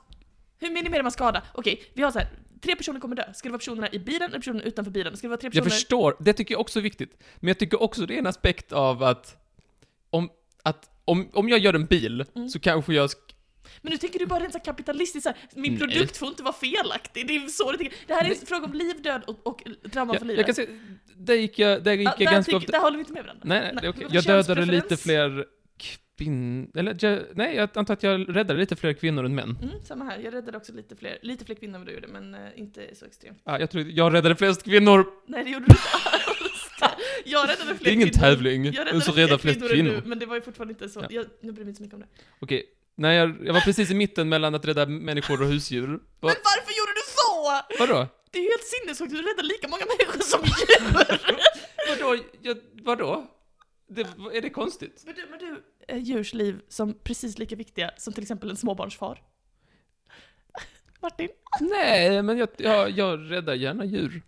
B: Hur minimerar man skada? Okej, vi har så här Tre personer kommer dö. Ska det vara personerna i bilen eller personerna utanför bilen? Ska det vara tre
A: Jag
B: personer...
A: förstår, det tycker jag också är viktigt. Men jag tycker också det är en aspekt av att om, att, om, om jag gör en bil
B: Mm.
A: så kanske jag sk-
B: Men nu tänker du bara rent så här kapitalistiskt så här, min
A: Nej.
B: produkt får inte vara felaktig. Det är så du tänker. Det här är en fråga om liv, död och, och drama för
A: jag,
B: livet.
A: jag kan säga, där gick jag, där gick
B: Ja,
A: jag
B: där,
A: ganska
B: tycker-
A: ofta...
B: där håller vi inte med varandra.
A: Nej, nej, det är
B: Nej,
A: okej.
B: det var
A: Jag dödade
B: könspreferens.
A: lite fler kvinnor... Eller, jag, nej, jag antar att jag räddade lite fler kvinnor än män.
B: Mm, samma här. Jag räddade också lite fler, lite fler kvinnor än vad du gjorde, men eh, inte så extremt.
A: Ja, Ah, jag tror jag räddade flest kvinnor.
B: Nej, det gjorde du inte alls. Jag räddade fler
A: Det är ingen
B: kvinnor.
A: tävling.
B: Jag
A: Den
B: räddade
A: som räddar flest
B: än
A: kvinnor.
B: Du, men det var ju fortfarande inte så.
A: Ja.
B: Jag, nu bryr jag mig inte så mycket om det.
A: Okej. Nej, jag, jag var precis i mitten mellan att rädda människor och husdjur. Va,
B: Men varför gjorde du så?
A: vadå?
B: Det är ju helt sinnessjukt. Du räddar lika många människor som djur.
A: Vadå? Jag, vadå? Det, är det konstigt?
B: Men du, men du, är djurs liv som precis lika viktiga som till exempel en småbarnsfar? Martin?
A: Nej, men jag, jag, jag räddar gärna djur.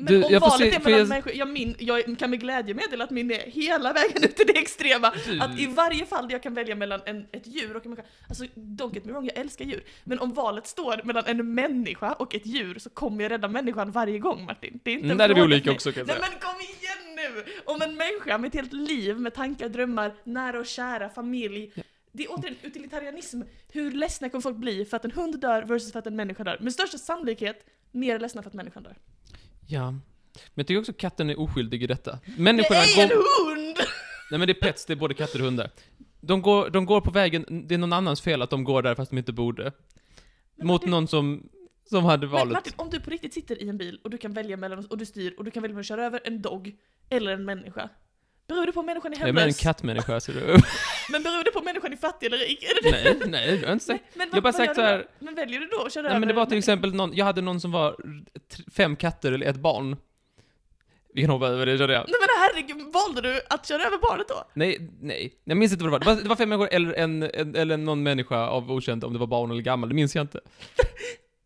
B: Men
A: Du,
B: om
A: jag får
B: valet
A: se-
B: är
A: får
B: mellan
A: jag-
B: människor, jag, min, jag kan med glädje meddela att min är hela vägen ut till det extrema.
A: Du-
B: Att i varje fall där jag kan välja mellan en, ett djur och en människa, alltså don't get me wrong, jag älskar djur. Men om valet står mellan en människa och ett djur så kommer jag rädda människan varje gång Martin. Det är inte
A: Mm,
B: en
A: där är vi
B: fråga
A: olika
B: för mig.
A: också, kan jag
B: Nej
A: säga.
B: men kom igen nu! Om en människa med ett helt liv med tankar, drömmar, nära och kära, familj. Det är återigen utilitarianism. Hur ledsna kommer folk bli för att en hund dör versus för att en människa dör? Med största sannolikhet, mer ledsna för att människan dör.
A: Ja. Men jag tycker också att katten är oskyldig i detta.
B: Det
A: Människorna
B: är en
A: går...
B: hund!
A: Nej men det är pets, det är både katter och hundar. De går, de går på vägen, det är någon annans fel att de går där fast de inte borde.
B: Men
A: Mot
B: Martin-
A: någon som, som hade
B: Men
A: valet.
B: Martin, om du på riktigt sitter i en bil och du kan välja mellan, och du styr, och du kan välja mellan att köra över en dog eller en människa. Beror det på om människan är
A: jag är mer en
B: hemlös?
A: kattmänniska ser du.
B: men beror det på om människan är fattig eller rik? Är det det?
A: nej, nej, jag har inte sagt.
B: Men,
A: Jag har bara sagt
B: gör
A: så
B: du då?
A: här-
B: Men väljer du då att köra över
A: Nej men det var
B: en
A: till
B: människa?
A: exempel någon, jag hade någon som var t- fem katter eller ett barn. Vi kan hoppa över det, kände jag.
B: Nej men herregud, valde du att köra över barnet då?
A: Nej, nej. Jag minns inte vad det var. Det var, det var fem människor eller, en, en, eller någon människa av okänt, om det var barn eller gammal, det minns jag inte.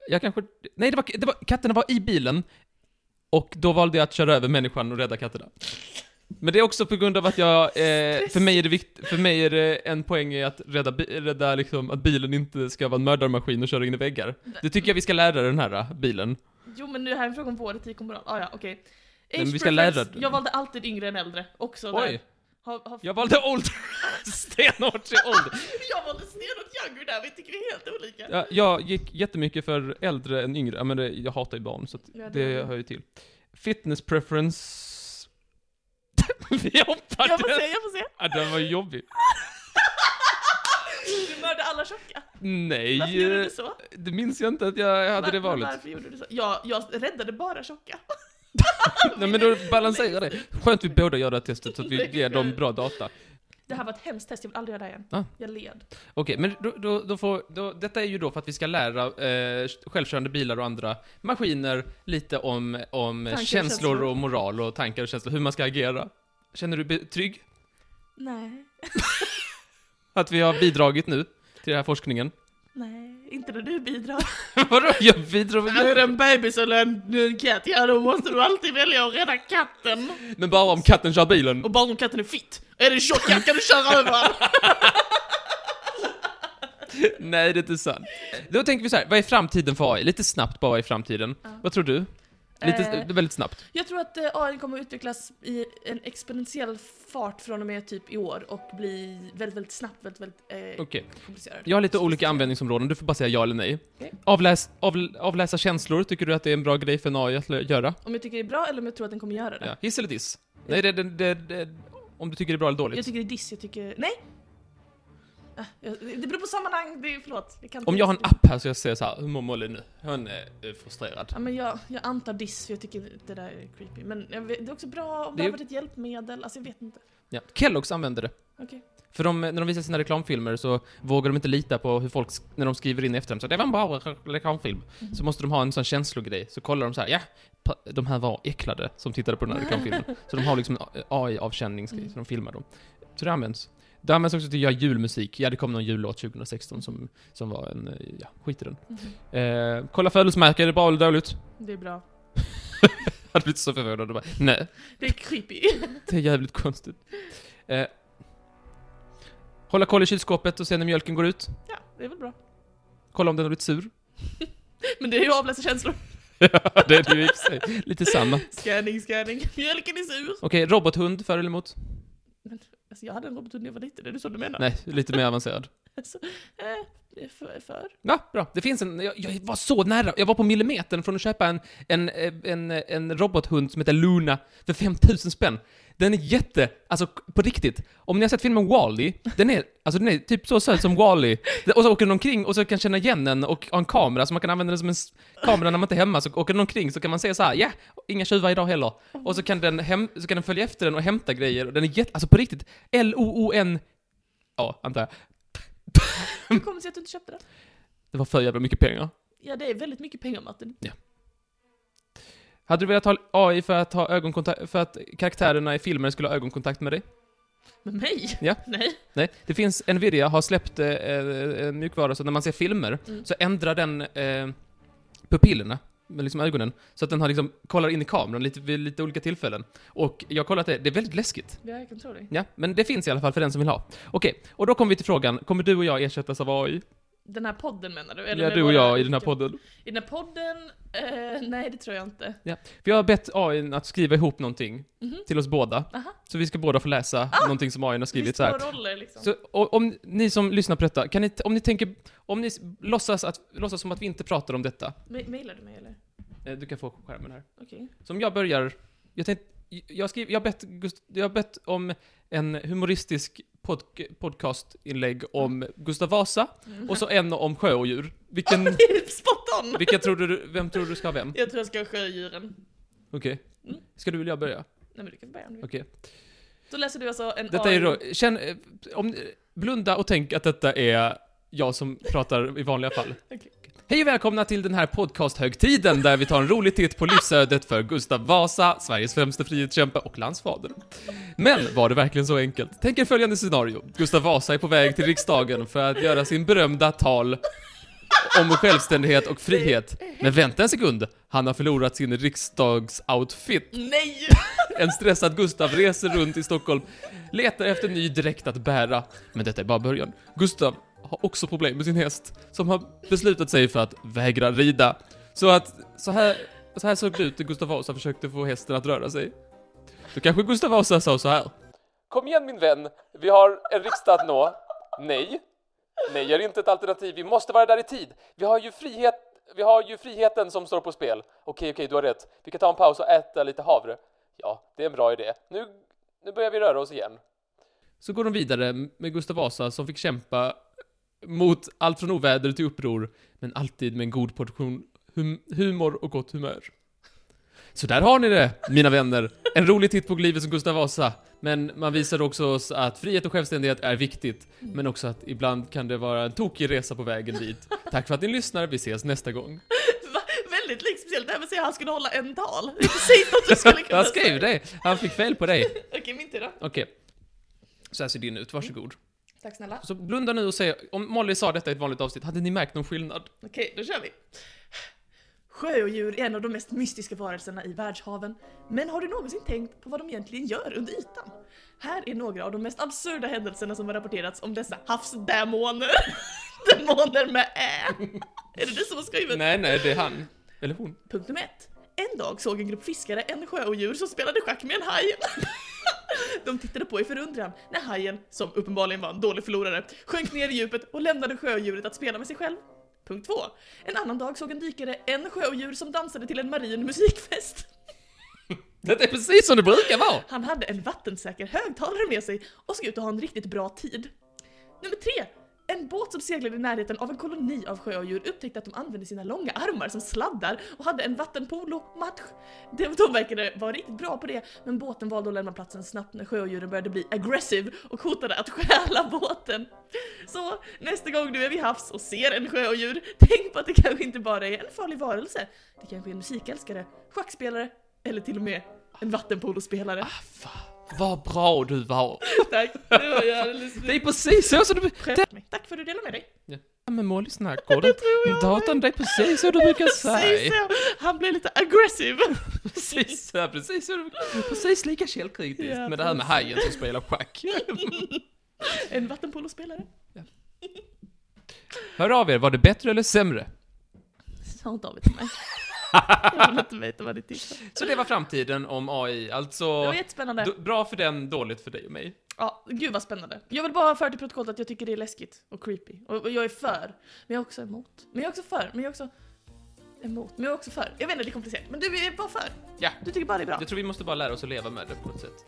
A: Jag kanske... Nej, det var, det var, katterna var i bilen. Och då valde jag att köra över människan och rädda katterna. Men det är också på grund av att jag... Eh, för, mig är det vikt, för mig är det en poäng i att rädda, bi- rädda liksom, att bilen inte ska vara en mördarmaskin och köra in i väggar. Det tycker jag vi ska lära den här eh, bilen.
B: Jo men det här är en fråga om vår etik och moral. Ah, ja, okej.
A: Nej,
B: Age
A: men vi ska
B: preference.
A: lära dig.
B: Jag valde alltid yngre än äldre, också där.
A: Oj!
B: Ha, ha...
A: Jag valde ålder! Stenhårt till ålder!
B: jag valde stenhårt younger där, vi tycker vi är helt olika.
A: Ja, jag gick jättemycket för äldre än yngre, Ja, men det, jag hatar ju barn så att
B: Ja, det-
A: det hör ju till. Fitness preference... Vi hoppar
B: jag får
A: den!
B: se, jag får se.
A: Ja, den var jobbig.
B: Du mördade alla tjocka.
A: Nej,
B: Varför gjorde
A: eh,
B: du så?
A: det minns jag inte att jag hade det
B: Var-
A: valet.
B: Varför gjorde du så? Ja, jag räddade bara tjocka.
A: Nej men då balanserar det. Skönt vi båda gör det här testet så att vi
B: Nej,
A: ger dem
B: skönt.
A: bra data.
B: Det här var ett hemskt test, jag vill aldrig göra det här igen.
A: Ah.
B: Jag led.
A: Okej, men då, då, då får, då, detta är ju då för att vi ska lära eh, självkörande bilar och andra maskiner lite om, om
B: Tankar
A: känslor
B: och känslor.
A: och moral och tankar och känslor, hur man ska agera. Känner du dig trygg?
B: Nej,
A: att vi har bidragit nu till den här forskningen.
B: nej, inte när du bidrar.
A: Vadå? Jag bidrar
B: Är det
A: med
B: en bebis eller en, en katt, ja då måste du alltid välja att rädda katten.
A: Men bara om katten kör bilen.
B: Och bara om katten är fitt. Är det tjock katt kan du köra över honom.
A: Nej, det är inte sant. Då tänker vi så här, vad är framtiden för AI? Lite snabbt bara, vad är framtiden? Vad tror du? Lite,
B: Eh.
A: Väldigt snabbt.
B: Jag tror att eh, AI kommer att utvecklas i en exponentiell fart från och med typ i år och bli väldigt, väldigt snabbt, väldigt, väldigt eh,
A: Okej.
B: komplicerad.
A: Jag har lite olika användningsområden, du får bara säga ja eller nej.
B: Okej.
A: Avläs, av, avläsa känslor, tycker du att det är en bra grej för en AI att lö- göra?
B: Om jag tycker det är bra eller om jag tror att den kommer göra det.
A: Ja. Hiss eller diss? Nej, det, det, det, det, om du tycker det är bra eller dåligt.
B: Jag tycker det är diss, jag tycker... Nej! Ah, jag- Det beror på sammanhang, det är, förlåt. Jag kan inte-
A: Om jag har en app här så jag säger så här, hur mår Molly nu? Hon är eh, frustrerad.
B: Ja, men jag, jag antar diss för jag tycker det där är creepy. Men jag vet, det är också bra
A: Det
B: om det
A: är
B: har
A: ju-
B: varit ett hjälpmedel, alltså jag vet inte.
A: Ja. Kellogg's använder det.
B: Okej.
A: För de, när de visar sina reklamfilmer så vågar de inte lita på hur folk, sk- när de skriver in i efterhand, så det var en bra re- reklamfilm. Så måste de ha en sån känslogrej, så kollar de så här, ja, pa- de här var äcklade som tittade på den här reklamfilmen. Så de har liksom en AI-avkänningsgrej, så de filmar dem. Så det används. Det används också till att göra julmusik. Ja, det kom någon jullåt 2016 som, som var en, eh, ja, skit i den. Eh, kolla födelsemärken, är det bra eller dåligt?
B: Det är bra.
A: Jag hade blivit så förvånad och bara, nej,
B: Det är creepy.
A: det är jävligt konstigt. Eh, hålla koll i kylskåpet och se när mjölken går ut.
B: ja, det är väl bra.
A: Kolla om den har blivit sur.
B: Men det är ju avläsa känslor.
A: Ja, det är det ju i och för sig. Lite samma.
B: Scanning, scanning. Mjölken är sur.
A: Okej, robothund, för eller emot?
B: Alltså, jag hade en robot när jag var liten, är det så du menar?
A: Nej, lite mer avancerad.
B: Alltså, eh, det är för, för.
A: Ja, bra. Det finns en, jag, jag var så nära, jag var på millimetern från att köpa en, en, eh, en, eh, en robothund som heter Luna för 5000 spänn. Den är jätte, alltså k- på riktigt. Om ni har sett filmen Wall-E, den är, alltså den är typ så söt som Wall-E. Den- Och så åker den omkring och så kan känna igen den och ha en kamera, så man kan använda den som en s- kamera när man inte är hemma. Så åker den omkring så kan man se så här, ja, inga tjuvar idag heller. Och så kan den, hem, så kan den följa efter den och hämta grejer. Och den är jätte, alltså på riktigt, L-O-O-N, ja, antar jag.
B: Hur kommer det sig att du inte köpte den?
A: Det var för jävla mycket pengar.
B: Ja, det är väldigt mycket pengar Martin.
A: Hade du velat ha AI för att, ha ögonkontakt, för att karaktärerna i filmer skulle ha ögonkontakt med dig?
B: Men mig?
A: Ja.
B: Nej.
A: Nej. Det finns, Nvidia har släppt eh, eh, eh, mjukvara, så när man ser filmer
B: Mm.
A: så ändrar den eh, pupillerna, med liksom ögonen, så att den har liksom, kollar in i kameran lite, vid lite olika tillfällen. Och jag har kollat det, det är väldigt läskigt.
B: Ja, jag kan tro dig.
A: Ja, men det finns i alla fall för den som vill ha. Okej, och då kommer vi till frågan, kommer du och jag ersättas av AI?
B: Den här podden menar du?
A: ja,
B: med
A: du och
B: våra
A: jag i den här
B: olika-
A: podden.
B: I den här podden? Eh, nej, det tror jag inte.
A: För jag har bett AI att skriva ihop någonting
B: Mhm.
A: till oss båda,
B: Aha. Ah!
A: så vi ska båda få läsa någonting som AI har skrivit
B: Visst
A: så här.
B: var roller liksom.
A: Så och, om ni som lyssnar på detta, kan ni, t- om ni tänker, om ni s- låtsas, att, låtsas som att vi inte pratar om detta.
B: Ma- Mailar du mig eller?
A: Eh, Du kan få skärmen här.
B: Okej.
A: Som jag börjar, jag tänkte, jag skriv, jag har bett, Gust- jag har bett om en humoristisk pod, podcastinlägg om Gustav Vasa, och så en om sjöodjur. Vilken,
B: Det är Spot on!
A: vilka tror du, vem tror du ska ha vem?
B: Jag tror jag ska ha sjödjuren.
A: Okej.
B: Mm.
A: Ska du eller jag börja?
B: Nej men du kan få börja om du vill.
A: Okej.
B: Så läser du alltså en
A: Detta är då, känn, eh, om, blunda och tänk att detta är jag som pratar i vanliga fall.
B: Okej.
A: Hej och välkomna till den här podcasthögtiden där vi tar en rolig titt på livsödet för Gustav Vasa, Sveriges främste frihetskämpe och landsfader. Men var det verkligen så enkelt? Tänk er följande scenario. Gustav Vasa är på väg till riksdagen för att göra sin berömda tal om självständighet och frihet. Men vänta en sekund, han har förlorat sin riksdagsoutfit.
B: Nej!
A: En stressad Gustav reser runt i Stockholm, letar efter ny dräkt att bära. Men detta är bara början. Gustav har också problem med sin häst, som har beslutat sig för att vägra rida. Så att, så här, så här såg det ut när Gustav Vasa försökte få hästen att röra sig. Då kanske Gustav Vasa sa så här. Kom igen min vän, vi har en riksdag att nå. Nej. Nej är inte ett alternativ, vi måste vara där i tid. Vi har ju frihet, vi har ju friheten som står på spel. Okej, okej, du har rätt. Vi kan ta en paus och äta lite havre. Ja, det är en bra idé. Nu, nu börjar vi röra oss igen. Så går de vidare med Gustav Vasa som fick kämpa mot allt från oväder till uppror, men alltid med en god portion hum- humor och gott humör. Så där har ni det, mina vänner. En rolig titt på livet som Gustav Vasa. Men man visar också oss att frihet och självständighet är viktigt, men också att ibland kan det vara en tokig resa på vägen dit. Tack för att ni lyssnar, vi ses nästa gång.
B: Va? Väldigt likt speciellt, det här med att säga att han skulle hålla en tal. Det är precis något du skulle kunna
A: Han skrev det! Han fick fel på dig.
B: säga. Okej, min tur då.
A: Okej. Så här ser din ut, varsågod.
B: Tack snälla.
A: Så blunda nu och säg, om Molly sa detta i ett vanligt avsnitt, hade ni märkt någon skillnad?
B: Okej, då kör vi. Sjöodjur är en av de mest mystiska varelserna i världshaven. Men har du någonsin tänkt på vad de egentligen gör under ytan? Här är några av de mest absurda händelserna som har rapporterats om dessa havsdemoner. Demoner med ä. Är det du som har skrivit?
A: Nej, nej, det är han. Eller hon.
B: Punkt nummer ett. En dag såg en grupp fiskare en sjöodjur som spelade schack med en haj. De tittade på i förundran när hajen, som uppenbarligen var en dålig förlorare, sjönk ner i djupet och lämnade sjöodjuret att spela med sig själv. Punkt två. En annan dag såg en dykare en sjöodjur som dansade till en marin musikfest.
A: Detta är precis som det brukar vara!
B: Han hade en vattensäker högtalare med sig och såg ut att ha en riktigt bra tid. Nummer tre. En båt som seglade i närheten av en koloni av sjöodjur upptäckte att de använde sina långa armar som sladdar och hade en vattenpolo-match. De de verkade vara riktigt bra på det, men båten valde att lämna platsen snabbt när sjöodjuren började bli aggressiv och hotade att stjäla båten. Så nästa gång du är vid havs och ser en sjöodjur, tänk på att det kanske inte bara är en farlig varelse. Det kanske är en musikälskare, schackspelare eller till och med en vattenpolospelare.
A: Ah, Fan, vad bra du var!
B: Tack, det var ju alldeles
A: Det är precis så som du...
B: nytt. Tack för att du delade med dig.
A: Ja, men Molly snackar det
B: tror jag
A: Datorn, det är precis så du brukar
B: Precis
A: säga.
B: så. Han blev lite aggressiv.
A: Precis så, precis så du brukar... Precis lika källkritiskt
B: Ja,
A: med det här med
B: precis.
A: hajen som spelar schack.
B: En vattenpolospelare.
A: Hör av er, var det bättre eller sämre?
B: Sa inte av till mig. Jag vill inte veta vad det tittar.
A: Så det var framtiden om AI.
B: Det
A: Alltså,
B: var jättespännande.
A: d- bra för den, dåligt för dig och mig.
B: Ja, gud vad spännande. Jag vill bara föra till protokollet att jag tycker det är läskigt och creepy. Och och jag är för, men jag är också emot. Men jag är också för, men jag är också emot. Men jag är också för. Jag vet inte, det är komplicerat. Men du är bara för.
A: Ja.
B: Du tycker bara det är bra.
A: Jag tror vi måste bara lära oss att leva med det på något sätt.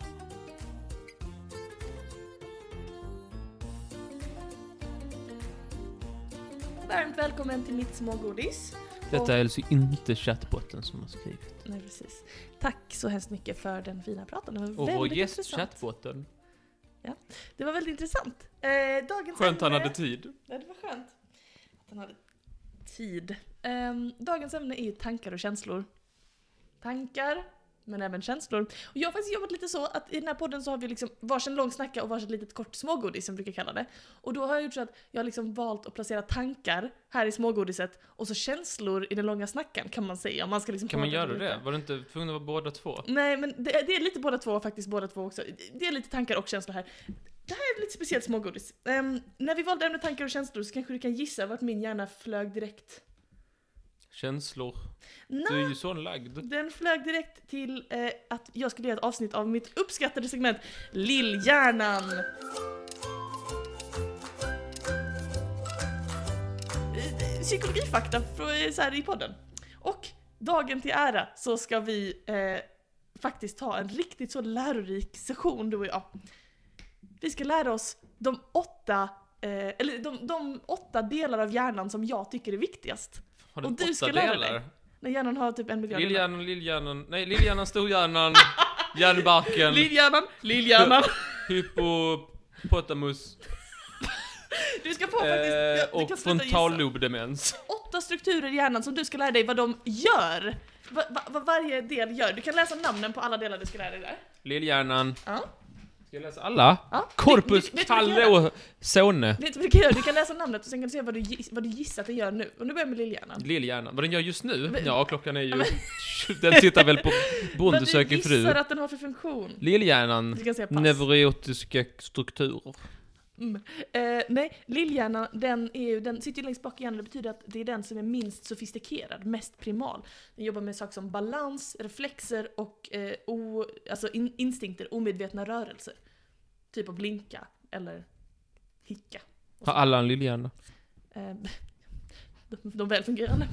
B: Varmt välkommen till mitt smågodis.
A: Detta är alltså inte chattbotten som har skrivit.
B: Nej, precis. Tack så hemskt mycket för den fina praten. Det var
A: Och vår
B: väldigt
A: gäst
B: intressant.
A: chattbotten.
B: Det var väldigt intressant. Eh, dagens
A: Skönt han
B: ämne-
A: hade tid.
B: Ja, det var skönt. Att han hade tid. Ehm, dagens ämne är ju tankar och känslor. Tankar, men även känslor. Och jag har faktiskt jobbat lite så att i den här podden så har vi liksom varsin lång snacka och varsin litet kort smågodis som vi brukar kalla det. Och då har jag gjort så att jag har liksom valt att placera tankar här i smågodiset och så känslor i den långa snackan kan man säga. Om man ska liksom
A: Kan man
B: hårdra
A: göra
B: lite.
A: det? Var du inte tvungen att vara båda två?
B: Nej, men det, det är lite båda två faktiskt, båda två också. Det är lite tankar och känslor här. Det här är lite speciellt smågodis. Ehm, när vi valde ämnet tankar och känslor så kanske du kan gissa vart min hjärna flög direkt.
A: Känslor. Du
B: Nej,
A: är ju sån lagd.
B: den flög direkt till eh, att jag skulle göra ett avsnitt av mitt uppskattade segment Lillhjärnan. Eh, Psykologifakta från- så här i podden. Och dagen till ära så ska vi eh, faktiskt ha en riktigt så lärorik session du och jag. Vi ska lära oss de åtta, eh, eller de, de åtta delar av hjärnan som jag tycker är viktigast.
A: Har du
B: Och du
A: åtta
B: ska lära
A: delar?
B: När hjärnan har typ en miljard delar.
A: Lillhjärnan, lillhjärnan, nej lillhjärnan, storhjärnan, hjärnbarken,
B: Lillhjärnan, lillhjärnan.
A: hypopotamus
B: Du ska få
A: eh,
B: faktiskt, jag- du kan
A: och
B: sluta gissa.
A: frontallobdemens.
B: Åtta strukturer i hjärnan som du ska lära dig vad de gör. Va- va- Vad varje del gör. Du kan läsa namnen på alla delar du ska lära dig där.
A: Lillhjärnan.
B: Ja.
A: Ska jag läsa alla?
B: Ja.
A: Corpus,
B: Vet- vet- vet du vad jag
A: Kalle och Sone.
B: Vet du vad du kan göra? Du kan läsa namnet och sen kan du se vad du, gis- vad du gissar att den gör nu. Och nu börjar jag med lillhjärnan.
A: Lillhjärnan. Vad den gör just nu?
B: Men-
A: Ja, klockan är ju...
B: Men-
A: Den tittar väl på
B: Vad
A: Bonde
B: du
A: söker
B: gissar
A: fru.
B: att den har för funktion.
A: Lillhjärnan.
B: Du kan säga pass.
A: Neurotiska strukturer.
B: Mm. Eh, nej, lillhjärnan den, är ju, den sitter ju längst bak i hjärnan, det betyder att det är den som är minst sofistikerad, mest primal. Den jobbar med saker som balans, reflexer och eh, o, alltså in, instinkter, omedvetna rörelser. Typ att blinka eller hicka.
A: Har alla en lillhjärna?
B: Eh, de, de välfungerande.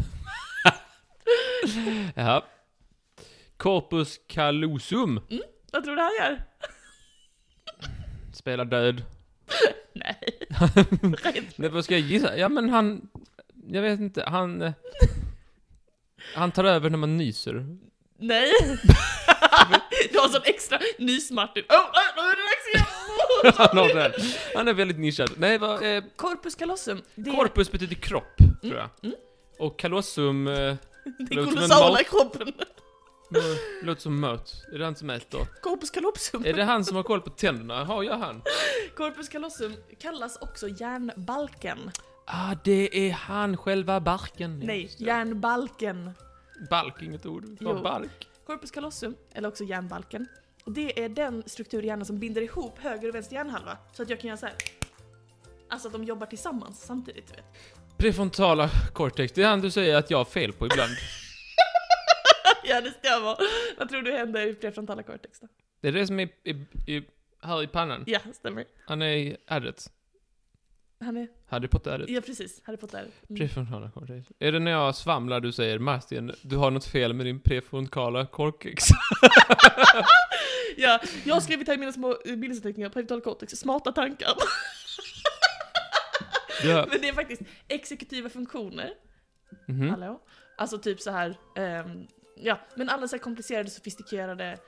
A: Ja. Corpus callosum.
B: Vad tror du han gör?
A: Spelar död.
B: Nej.
A: Nej, vad ska jag gissa? Ja, men han... Jag vet inte, han... eh, Han tar över när man nyser.
B: Nej. du har sån extra nysmart du. Oh, oh, nu är det dags igen!
A: Han, har det. han är väldigt nischad. Nej, vad... Eh,
B: Corpus callosum. Det är,
A: corpus betyder kropp, tror jag.
B: mm.
A: Och callosum... Eh,
B: det
A: låter
B: är
A: som en
B: kolossala
A: mat.
B: i kroppen.
A: mö- låter som möt. Är det han som äter?
B: Corpus callosum.
A: Är det han som har koll på tänderna? Har jag han?
B: Corpus callosum kallas också järnbalken.
A: Ah, det är han, själva barken. Ja,
B: Nej,
A: just det.
B: järnbalken.
A: Balk, inget ord.
B: Jo.
A: Ja, balk.
B: Corpus callosum, eller också järnbalken, det är den struktur i hjärnan som binder ihop höger och vänster hjärnhalva. Så att jag kan göra så här. Alltså att de jobbar tillsammans samtidigt, du vet.
A: Prefrontala cortex, det är han du säger att jag har fel på ibland.
B: ja, det stämmer. Vad tror du händer i prefrontala cortex då?
A: Det är det som är i, i, här i pannan.
B: Ja, stämmer.
A: Han är i addet.
B: Han är...
A: Harry Potter-addet.
B: Ja, precis. Harry Potter. Mm.
A: Prefrontala cortex. Är det när jag svamlar du säger Martin, du har något fel med din prefrontala cortex?
B: Ja, jag har skrivit här i mina små eh, bildsanteckningar, prefrontala cortex, smarta tankar.
A: ja.
B: Men det är faktiskt exekutiva funktioner
A: Mhm.
B: Hallå? Alltså typ så här, ehm, ja, men alla så här komplicerade, sofistikerade, eh,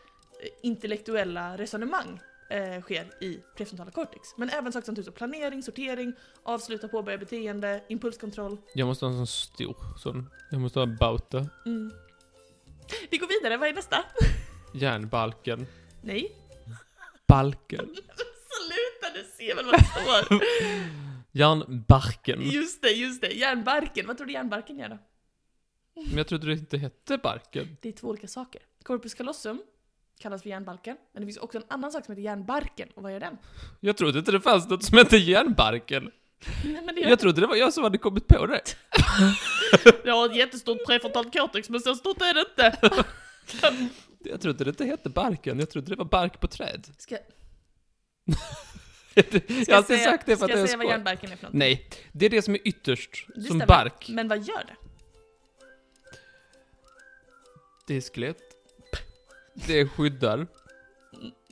B: intellektuella resonemang eh, sker i prefrontala cortex. Men även saker som typ så planering, sortering, avsluta, påbörja beteende, impulskontroll.
A: Jag måste ha en sån stor sån. Jag måste ha bauta.
B: Mm. Vi går vidare, vad är nästa?
A: Järnbalken.
B: Nej,
A: Balken.
B: sluta du ser väl vad det står?
A: Järnbarken.
B: Just det, just det, järnbarken. Vad tror du järnbarken gör då?
A: Men jag trodde det inte hette barken.
B: Det är två olika saker. Corpus callosum kallas för järnbalken, men det finns också en annan sak som heter järnbarken, och vad gör den?
A: Jag trodde inte det fanns något som hette järnbarken.
B: Nej, men det gör
A: Jag trodde det var jag som hade kommit på det.
B: Jag har ett jättestort prefrontalt cortex, men så stort är det inte.
A: Jag trodde det inte hette barken, jag trodde det var bark på träd.
B: Ska,
A: jag har alltid
B: säga-
A: sagt det för att det
B: ska
A: är
B: jag
A: en
B: säga vad
A: skoj.
B: järnbarken är för något?
A: Nej, det är det som är ytterst,
B: Det
A: som
B: stämmer.
A: bark.
B: Men vad gör det?
A: Det är skelett. Det skyddar.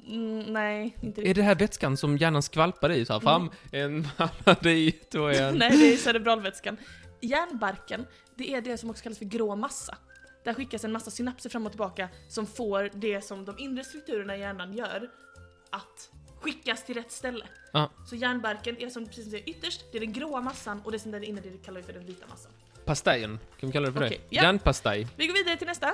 B: Mm, nej, inte
A: Är
B: riktigt.
A: det här vätskan som hjärnan skvalpar i? Så här, fram en man i, två en.
B: Mm. Nej, det är cerebralvätskan. Järnbarken, det är det som också kallas för grå massa. Där skickas en massa synapser fram och tillbaka som får det som de inre strukturerna i hjärnan gör att skickas till rätt ställe.
A: Ja.
B: Så järnbarken är som precis som det är ytterst, det är den gråa massan och det som den inre det kallar vi för den vita massan.
A: Pastejen, kan vi kalla det för
B: Okej,
A: det?
B: ja.
A: Järnpastej.
B: Vi går vidare till nästa.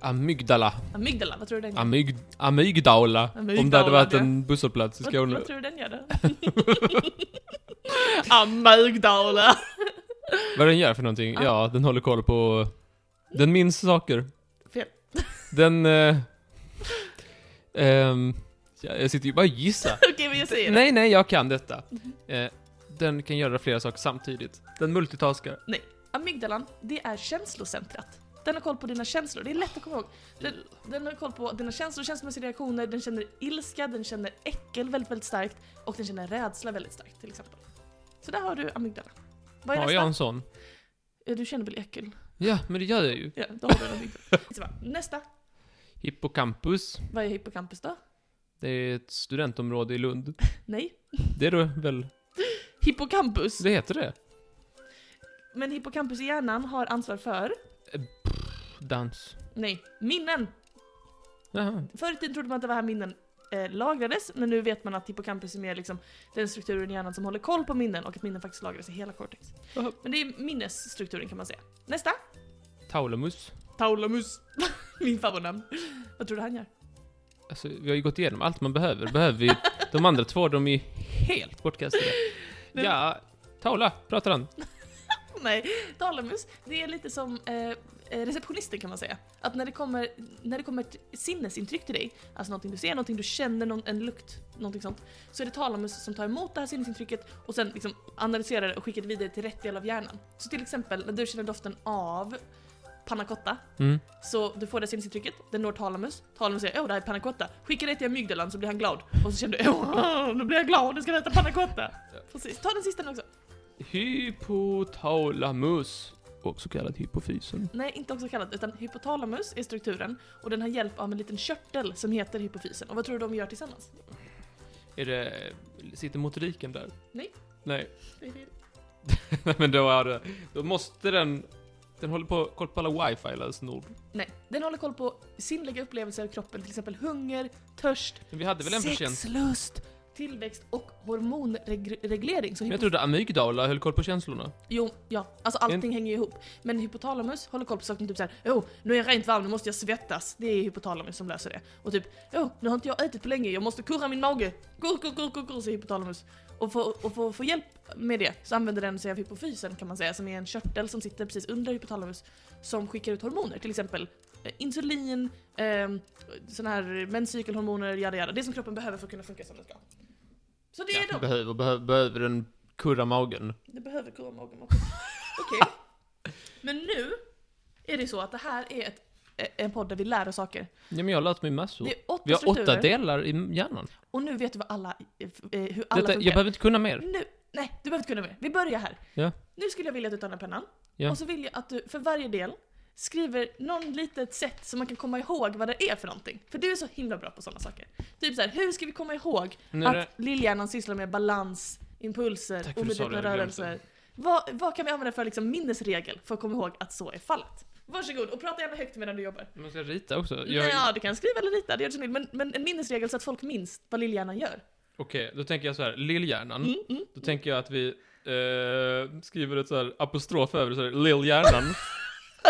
A: Amygdala.
B: Amygdala, vad tror du den gör?
A: Amyg, amygdala. Om det
B: Amygdala,
A: hade varit
B: ja.
A: en busshållplats i
B: Vad,
A: Skåne.
B: vad tror du den gör då? Amygdala!
A: Vad den gör för någonting?
B: Ja.
A: Ja, den håller koll på... Den minns saker.
B: Fel.
A: Den... Eh, ehm, ja, jag sitter ju bara och gissar.
B: Okej, men jag säger det.
A: Nej, nej, jag kan detta. Eh, den kan göra flera saker samtidigt. Den multitaskar.
B: Amygdalan, det är känslocentrat. Den har koll på dina känslor, det är lätt att komma ihåg. Den, den har koll på dina känslor, känslomässiga reaktioner, den känner ilska, den känner äckel väldigt, väldigt starkt och den känner rädsla väldigt starkt till exempel. Så där har du amygdala. Vad är
A: Har
B: nästa?
A: jag en sån?
B: Eh, Du känner väl äckel?
A: Ja, men det gör jag ju.
B: Ja, då har du en amygdala. Så bara, Nästa.
A: Hippocampus.
B: Vad är hippocampus då?
A: Det är ett studentområde i Lund.
B: Nej.
A: Det är då väl...
B: Hippocampus.
A: Det heter det?
B: Men hippocampus i hjärnan har ansvar för,
A: Dans.
B: nej, minnen.
A: Jaha.
B: Förr i tiden trodde man att det var här minnen eh, lagrades, men nu vet man att hippocampus är mer liksom den strukturen i hjärnan som håller koll på minnen och att minnen faktiskt lagras i hela cortex.
A: Jaha.
B: Men det är minnesstrukturen kan man säga. Nästa!
A: Taulamus.
B: Taulamus. Min favoritnamn. Vad tror du han gör?
A: Alltså, vi har ju gått igenom allt man behöver. Behöver vi... De andra två, de är ju helt bortkastade.
B: Men-
A: Ja, Taula, pratar han.
B: Nej, Talamus, det är lite som eh, eh, receptionisten kan man säga. Att när det, kommer, när det kommer ett sinnesintryck till dig, alltså någonting du ser, någonting du känner, någon, en lukt, någonting sånt, så är det Talamus som tar emot det här sinnesintrycket och sen liksom analyserar det och skickar det vidare till rätt del av hjärnan. Så till exempel när du känner doften av panna cotta,
A: Mm.
B: så du får det sinnesintrycket, den når Talamus, Talamus säger åh det här är panna cotta, skicka det till amygdalan så blir han glad. Och så känner du åh nu blir jag glad, nu ska jag äta panna cotta. Precis, ta den sista nu också.
A: Hypotalamus. Också kallad hypofysen.
B: Nej, inte också kallat, utan hypotalamus är strukturen och den har hjälp av en liten körtel som heter hypofysen. Och vad tror du de gör tillsammans?
A: Är det... Sitter motoriken där?
B: Nej.
A: Nej. Nej, men då är det... Då måste den... Den håller på koll på alla wifi-lösenord.
B: Nej, den håller koll på sinnliga upplevelser av kroppen, till exempel hunger, törst,
A: Men vi hade väl en förtjänst?
B: sexlust, tillväxt och hormonreglering. Så
A: Men
B: hypo-
A: jag trodde amygdala höll koll på känslorna.
B: Jo, ja, alltså allting hänger ju ihop. Men hypotalamus håller koll på saker typ såhär, åh, nu är jag rent varm, nu måste jag svettas. Det är hypotalamus som löser det. Och typ, åh, nu har inte jag ätit på länge, jag måste kurra min mage. Kurr, kurr, kurr, kurr, kurr, säger hypotalamus. Och för, och för att få hjälp med det så använder den sig av hypofysen kan man säga, som är en körtel som sitter precis under hypotalamus som skickar ut hormoner, till exempel eh, insulin, eh, sådana här menscykelhormoner, jada jada. Det som kroppen behöver för att kunna funka som den ska. Så det är
A: Ja,
B: de.
A: behöver, behöver, behöver den kurra magen.
B: Det behöver kurva magen också. Okej. Men nu är det så att det här är ett, en podd där vi lär oss saker.
A: Ja, men jag har lärt mig massor.
B: Det är åtta
A: Vi har
B: strukturer.
A: åtta delar i hjärnan.
B: och nu vet du vad alla, eh, hur
A: Detta,
B: alla
A: jag
B: funkar. Mm.
A: behöver inte kunna mer.
B: Nu, nej, du behöver inte kunna mer. Vi börjar här.
A: Ja.
B: Nu skulle jag vilja att du tar den här pennan.
A: Ja.
B: Och så vill jag att du för varje del skriver någon litet sätt så man kan komma ihåg vad det är för någonting. För du är så himla bra på sådana saker. Typ så här, hur ska vi komma ihåg
A: Nu är
B: att
A: det-
B: lillhjärnan sysslar med balans, impulser,
A: Tack för att du sa
B: omedvetna
A: det, jag glömde.
B: rörelser. Vad, vad kan vi använda för liksom minnesregel för att komma ihåg att så är fallet? Varsågod och prata gärna högt medan du jobbar.
A: Man ska rita också.
B: Jag...
A: Jag,
B: Ja, du kan skriva eller rita, det gör du som vill. Men, men en minnesregel så att folk minns vad lillhjärnan gör.
A: Okej, då tänker jag så här. Lillhjärnan.
B: Mm, mm.
A: Då tänker jag att vi eh, skriver ett så här apostrof över det, så här. Lillhjärnan.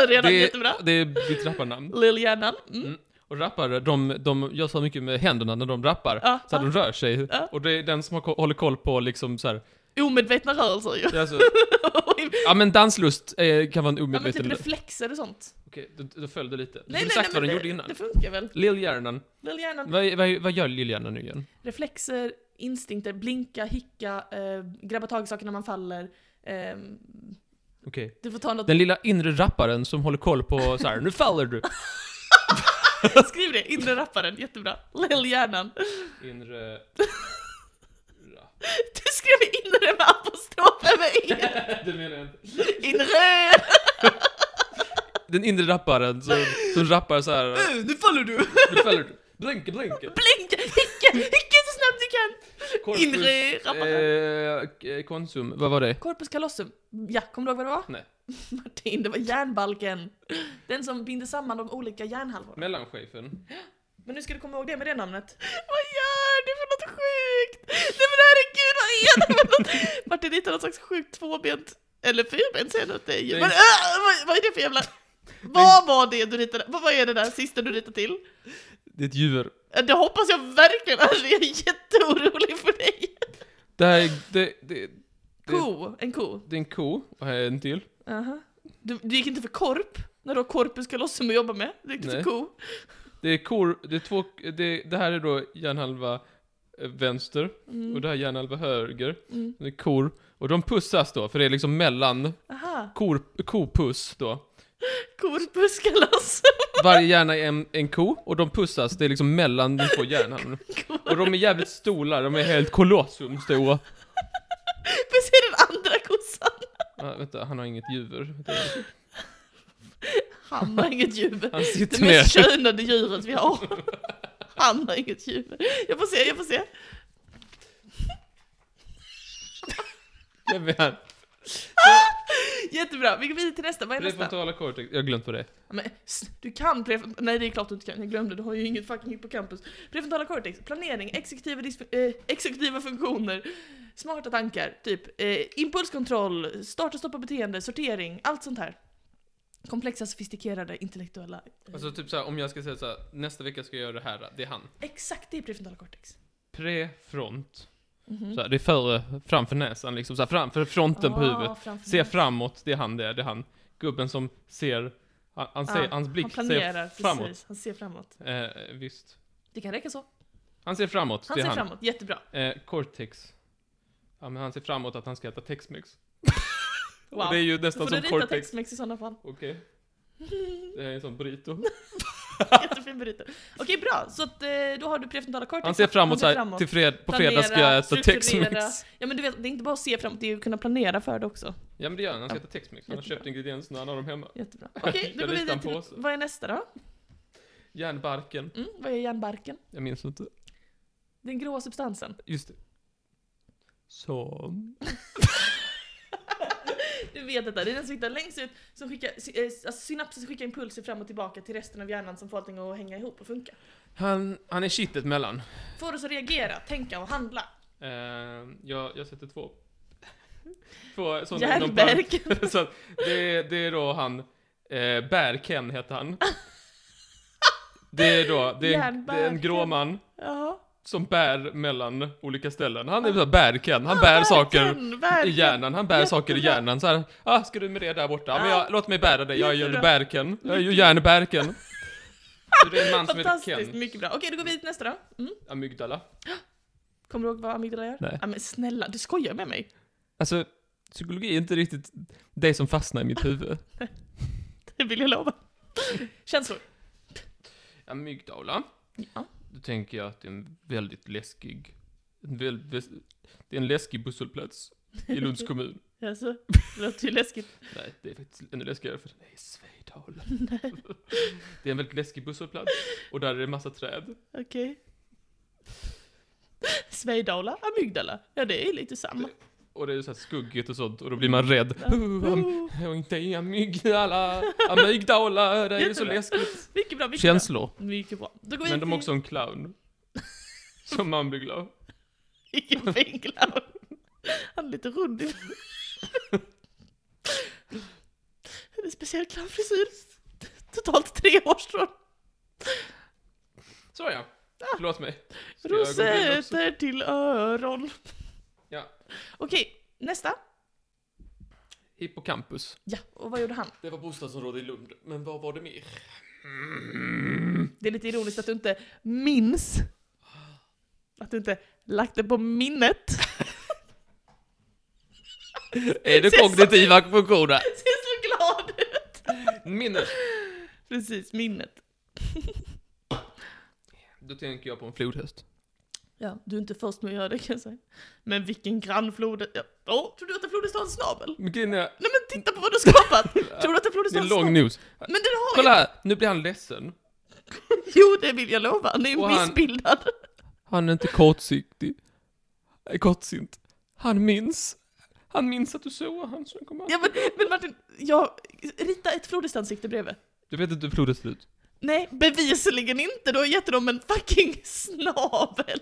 B: Redan
A: det,
B: jättebra.
A: det är ditt rapparnamn.
B: Lillhjärnan. Mm.
A: Mm. Och rappare, de, de gör så mycket med händerna när de rappar.
B: Ja,
A: så att
B: ja.
A: de rör sig.
B: Ja.
A: Och det är den som har, ko- håller koll på liksom så här.
B: Omedvetna rörelser ju.
A: det är Alltså,
B: Oj,
A: ja men danslust eh, kan vara en
B: Ja men typ
A: omedveten...
B: reflexer och sånt.
A: Okej, då, då föll det lite. Du skulle sagt vad
B: men
A: den
B: det,
A: gjorde innan.
B: Det funkar väl?
A: Lillhjärnan.
B: Väl hjärnan.
A: Vad, vad, vad gör lillhjärnan nu igen?
B: Reflexer, instinkter, blinka, hicka, eh, grabba tag i saker när man faller. Eh,
A: Okej.
B: Du får ta något...
A: Den lilla inre rapparen som håller koll på så här. nu faller du!
B: Skriv det, inre rapparen, jättebra. Lillhjärnan.
A: Inre...
B: Du skrev inre med E. apostrof över er.
A: det menar jag inte.
B: Inre!
A: Den inre rapparen som, som rappar så här.
B: Nu, nu faller du!
A: nu faller du! Blinke, blinke!
B: Blinka, hicka, hicka så snabbt du kan!
A: Korpus,
B: Inre rapparen.
A: eh, Konsum, vad var det?
B: Corpus callosum. Ja, kommer du ihåg vad det var?
A: Nej.
B: Martin, det var järnbalken. Den som binder samman de olika järnhalvorna.
A: Mellanchefen.
B: Men nu ska du komma ihåg det med det namnet. Vad gör du för något sjukt? Nej men herregud, vad är det för något? Martin hittade något slags sjukt tvåbent, eller fyrbent säger jag åt dig.
A: Det är-
B: Men äh, vad, vad är det för jävla... Vad var det du ritade? Vad, vad är det där sista du ritade till?
A: Det är ett djur.
B: Äh, Det hoppas jag verkligen, alltså, jag är jätteorolig för dig.
A: Det här är... Det, det, Det-
B: Ko, en ko.
A: det är en ko. Och här är en till.
B: Aha. Du, du gick inte för korp, när du har korpus callosum att jobba med. Du gick inte
A: Nej.
B: för ko.
A: Det är kor... Det är två... Det, det här är då hjärnhalva eh, vänster.
B: Mm.
A: Och det här är hjärnhalva höger.
B: Mm.
A: Det är kor. Och de pussas då, för det är liksom mellan
B: Aha,
A: kor, kopuss då.
B: korpus callosum.
A: Varje hjärna är en, en ko och de pussas, det är liksom mellan de två hjärnorna. Och de är jävligt stora, de är helt kolossum stora.
B: Korpus är den andra kossan.
A: Ah, vänta, han har inget djur.
B: Han har inget jubel.
A: Han sitter
B: Det
A: ner.
B: mest könade djuret vi har. Han har inget jubel. Jag får se, jag får se.
A: Vem är han?
B: Jättebra, vi går vidare till nästa. Vad är nästa?
A: Prefrontala cortex, jag har glömt vad det är.
B: Men, s- du kan prefrontala... Nej det är klart du inte kan, jag glömde. Du har ju inget fucking hippocampus. Prefrontala cortex, planering, exekutiva, disf- eh, exekutiva funktioner, smarta tankar, typ eh, impulskontroll, starta och stoppa beteende, sortering, allt sånt här. Komplexa, sofistikerade, intellektuella. eh,
A: Alltså typ såhär, om jag ska säga såhär, nästa vecka ska jag göra det här, det är han.
B: Exakt, det är prefrontala cortex.
A: Prefront.
B: Mhm.
A: Såhär, det är före, framför näsan liksom, såhär, framför fronten på
B: Ah,
A: huvudet.
B: framför
A: Se
B: mig.
A: framåt, det är han det, det är han. Gubben som ser, han, han ser,
B: Ja,
A: hans blick
B: Ah, Han planerar,
A: ser framåt.
B: precis. Han ser framåt.
A: Eh, visst.
B: Det kan räcka så.
A: Han ser framåt,
B: Han
A: det
B: ser
A: är han.
B: framåt, jättebra.
A: Eh, cortex. Ja, men han ser framåt att han ska äta Tex-Mex.
B: Wow.
A: Och det är ju
B: Då
A: nästan
B: får du
A: som
B: rita
A: Cortex.
B: textmex i sådana fall.
A: Okej. Det här är en sån burrito.
B: Jättefin burrito. Okej, bra. Så att, eh, då har du prefrontala cortex.
A: Han ser framåt
B: Han
A: såhär, till fred, på fredag ska
B: Planera,
A: jag äta
B: strukturera.
A: Tex-Mex.
B: Ja men du vet, det är inte bara att se framåt, det är ju att kunna planera för det också.
A: Ja men det gör han, han ska äta Tex-Mex. Han har
B: Jättebra.
A: köpt ingredienserna, han har dem hemma.
B: Jättebra. Okej, då
A: Jag
B: går vi
A: ritar
B: vidare
A: en påse.
B: till, vad är nästa då?
A: Järnbarken.
B: Mm, vad är järnbarken?
A: Jag minns inte.
B: Den gråa substansen.
A: Just det. Som...
B: Du vet detta, det är den som hittar längst ut, som skickar, sy- eh, alltså synapsen skickar impulser fram och tillbaka till resten av hjärnan som får allting att hänga ihop och funka.
A: Han, han är kittet mellan.
B: Får oss att reagera, tänka och handla.
A: Eh, jag, jag sätter två. Två sådana inom parentes.
B: Järnbarken.
A: så att det, det är då han, eh, Bärken heter han. Det är då, det är, en- det är en grå
B: Järnbärken.
A: man
B: Jaha.
A: som bär mellan olika ställen. Han är så här Bärken,
B: Ah,
A: han bär saker i hjärnan, han bär saker i
B: Jättebra.
A: hjärnan så här, ah ska du med det där borta? Ja, men jag, låt mig bära dig, jag är ju
B: Jättebra.
A: Bärken, jag är ju järnbärken. Så det är en man som heter
B: Fantastiskt,
A: Ken,
B: mycket bra. Okej, då går vi till nästa då. Mm.
A: amygdala.
B: Kommer du ihåg vad amygdala gör?
A: Nej.
B: Ja, men snälla, du skojar med mig.
A: Alltså, psykologi är inte riktigt det som fastnar i mitt huvud.
B: Det vill jag lova. Känslor.
A: Amygdala.
B: Ja.
A: Då tänker jag att det är en väldigt läskig... En väl, väs- det är en läskig busshållplats i Lunds kommun.
B: Alltså, det låter ju läskigt.
A: Nej, det är faktiskt ännu läskigare för det är Svedala. det är en väldigt läskig busshållplats och där är det massa träd.
B: Okej. Svedala, amygdala. Ja, det är lite samma.
A: Och det är så här skuggigt och sånt och då blir man rädd.
B: Ja.
A: Uh, am-
B: Oh,
A: och inte i amygdala, amygdala, det är ju så
B: Jättebra.
A: läskigt.
B: Mycket bra, mycket
A: Känslor.
B: bra. Mycket bra. Då går vi
A: Men de
B: till-
A: har också en clown. Som man blir glad.
B: Vilken fin clown. Han är lite rund i... En speciell clownfrisyr. Totalt tre årstrån.
A: Så ja. Förlåt mig. Ska jag gå vidare också?
B: Rosetter till öron.
A: Ja.
B: Okej, nästa.
A: Hippocampus.
B: Ja, och vad gjorde han?
A: Det var bostadsområde i Lund, men vad var det mer? Mm.
B: Det är lite ironiskt att du inte minns. Att du inte lagt det på minnet.
A: Är det
B: Ser så-
A: kognitiva funktioner?
B: Ser så glad ut!
A: Minnet.
B: Precis, minnet.
A: Då tänker jag på en flodhäst.
B: Ja, du är inte först med att göra det kan jag säga. Men vilken grannflod... Ja. Åh, tror du att en flod är en snabel?
A: Men grejen är,
B: Nej men titta på vad du har skapat! Tror du att en flod är
A: det är
B: en
A: en
B: snabel?
A: lång nos.
B: Men den har
A: Kolla här, nu blir han ledsen.
B: ju... Jo, det vill jag lova. Han är ju
A: Och han-
B: missbildad.
A: Han är inte kortsiktig. Eh, Kortsint. Han minns. Han minns att du såg han så kom han.
B: Ja, men, men Martin, jag... Rita ett flodhästansikte bredvid.
A: Du vet inte hur floden ser ut.
B: Nej, bevisligen inte. Du har gett dem en fucking snabel.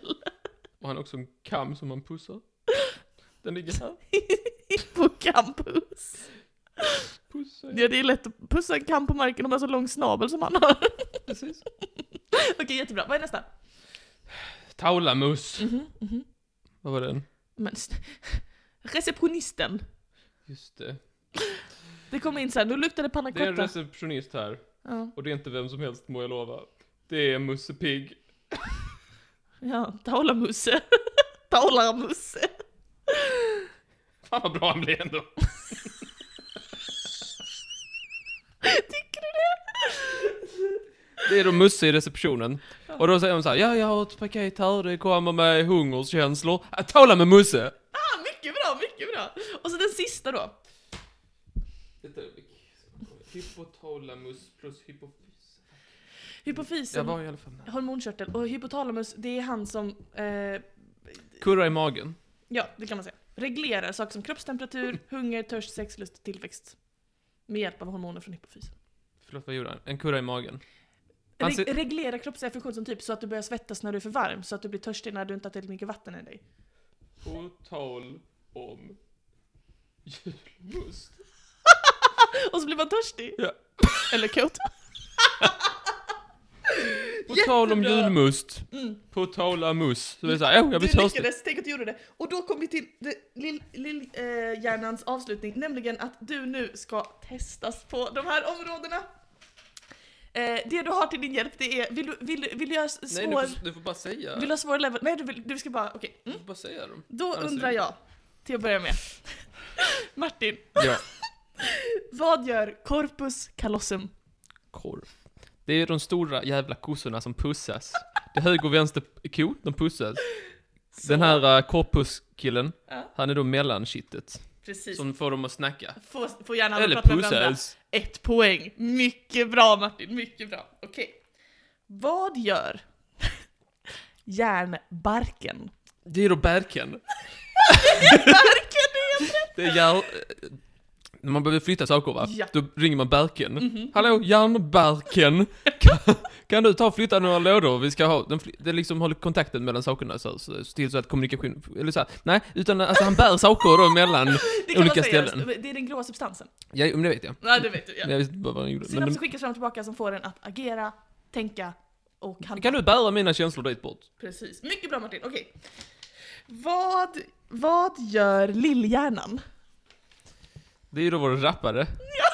A: Och han har också en kam som han pussar. Den ligger här.
B: på campus.
A: Pussar.
B: Ja, det är lätt att pussa en kam på marken om man har så lång snabel som han har.
A: Precis.
B: Okej, jättebra. Vad är nästa?
A: Taulamus. Vad var den?
B: Mhm, Men, sn- receptionisten.
A: Just det.
B: Det kom in så här, nu luktar det panna
A: Det är en
B: cotta.
A: receptionist här.
B: Ja,
A: Och det är inte vem som helst må jag lova. Det är Musse Pigg.
B: ja taulamusse. Taulamusse.
A: Fan vad bra han blev ändå.
B: Tycker du det?
A: Det är då Musse i receptionen. Och då säger hon så här, ja jag har ett paket här, det kommer med hungerskänslor. Att tala med Musse!
B: Ah, mycket bra, mycket bra. Och så den sista då.
A: Ett ögonblick. Hypotalamus plus hypofys. Jag
B: Hypofysen.
A: var i alla fall nära.
B: Hormonkörtel. Och hypotalamus, det är han som, eh,
A: Kurra i magen.
B: ja det kan man säga, reglerar saker som kroppstemperatur, hunger, törst, sexlust och tillväxt. Med hjälp av hormoner från hypofysen.
A: Förlåt, vad gjorde han? En kurra i magen. Han ser-
B: Re- reglera kroppsliga funktioner som typ så att du börjar svettas när du är för varm, så att du blir törstig när du inte har tillräckligt mycket vatten i dig.
A: På tal om julmust.
B: Och så blir man törstig.
A: Ja.
B: Eller kåt.
A: På tal om
B: Jättebra.
A: julmust.
B: Mm.
A: På tal om mus. Så det är såhär, oh, jag blir
B: du
A: törstig.
B: lyckades, tänk att du gjorde det. Och då kom vi till det- lill- lill, eh, hjärnans avslutning, nämligen att du nu ska testas på de här områdena. Eh, det du har till din hjälp det är, vill du, vill, du- vill du göra s-
A: Nej,
B: svår...
A: du får, du får bara säga.
B: Vill du ha svår level? Nej, du, vill, du ska bara, okej.
A: Du
B: Mm.
A: får bara säga dem.
B: Då
A: Alltså-
B: undrar jag, till att börja med. Martin,
A: Ja.
B: vad gör corpus callosum?
A: korv. Det är de stora jävla kossorna som pussas. Det är höger och vänster ko, de pussas. Den här uh, korpuskillen,
B: Ja.
A: han är då mellankittet.
B: Precis.
A: Som får dem att snacka.
B: Får, får gärna alla
A: Eller
B: prata med varandra.
A: pussas.
B: Ett poäng. Mycket bra Martin, mycket bra. Okej. Vad gör järnbarken?
A: Det är då bärken.
B: Barken är en-
A: Det är järn... eh, När man behöver flytta saker va?
B: Ja. Mhm.
A: Då ringer man bärken. Hallå, järnbärken! Kan, kan du ta och flytta några lådor? Vi ska ha... Den fly- det liksom håller kontakten mellan sakerna så, så, så till så att kommunikation... Eller så här, nej, utan alltså han bär saker då mellan...
B: det kan
A: Olika
B: man säga,
A: ställen.
B: Det är den gråa substansen.
A: Ja, men det vet jag.
B: Ja, det vet du. Ja.
A: Jag visste inte vad han gjorde. men de-
B: Synapser skickas fram och tillbaka som får en att agera, tänka och handla.
A: Kan du bära mina känslor dit bort?
B: Precis. Mycket bra Martin. Okej. Vad, vad gör lillhjärnan?
A: Det är ju då vår rappare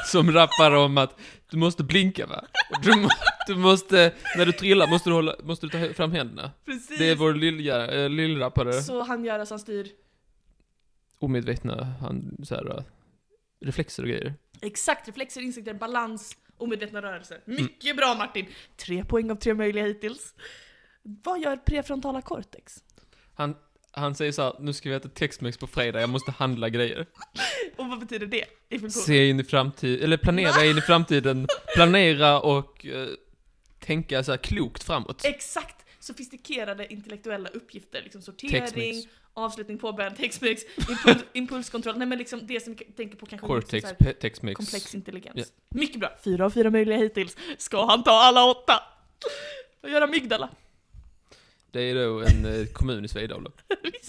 A: som rappar om att du måste blinka va? Och Du, må, du måste, när du trillar måste du, hålla, måste du ta hö- fram händerna.
B: Precis.
A: Det är vår lilla, äh, lillrappare,
B: Så han gör alltså, han styr
A: omedvetna han, så här, äh, reflexer och grejer.
B: Exakt, reflexer, insikter, balans, omedvetna rörelser.
A: Mm.
B: Mycket bra Martin! Tre poäng av tre möjliga hittills. Vad gör prefrontala cortex?
A: Han, han säger så här, nu ska vi äta Tex-Mex på fredag, jag måste handla grejer.
B: Och vad betyder det i funktion?
A: Se in i framtiden, eller planera in i framtiden, planera och eh, tänka så här klokt framåt.
B: Exakt! Sofistikerade intellektuella uppgifter, liksom sortering,
A: Tex-Mex.
B: avslutning, påbörjan, text-mex, impuls, impulskontroll, nej men liksom det som vi tänker på kanske
A: Cortex,
B: liksom så
A: pe-
B: här,
A: Tex-Mex.
B: komplex intelligens.
A: Ja.
B: Mycket bra! Fyra av fyra möjliga hittills. Ska han ta alla åtta? Vad gör amygdala?
A: Det är då en eh, kommun i Svedala.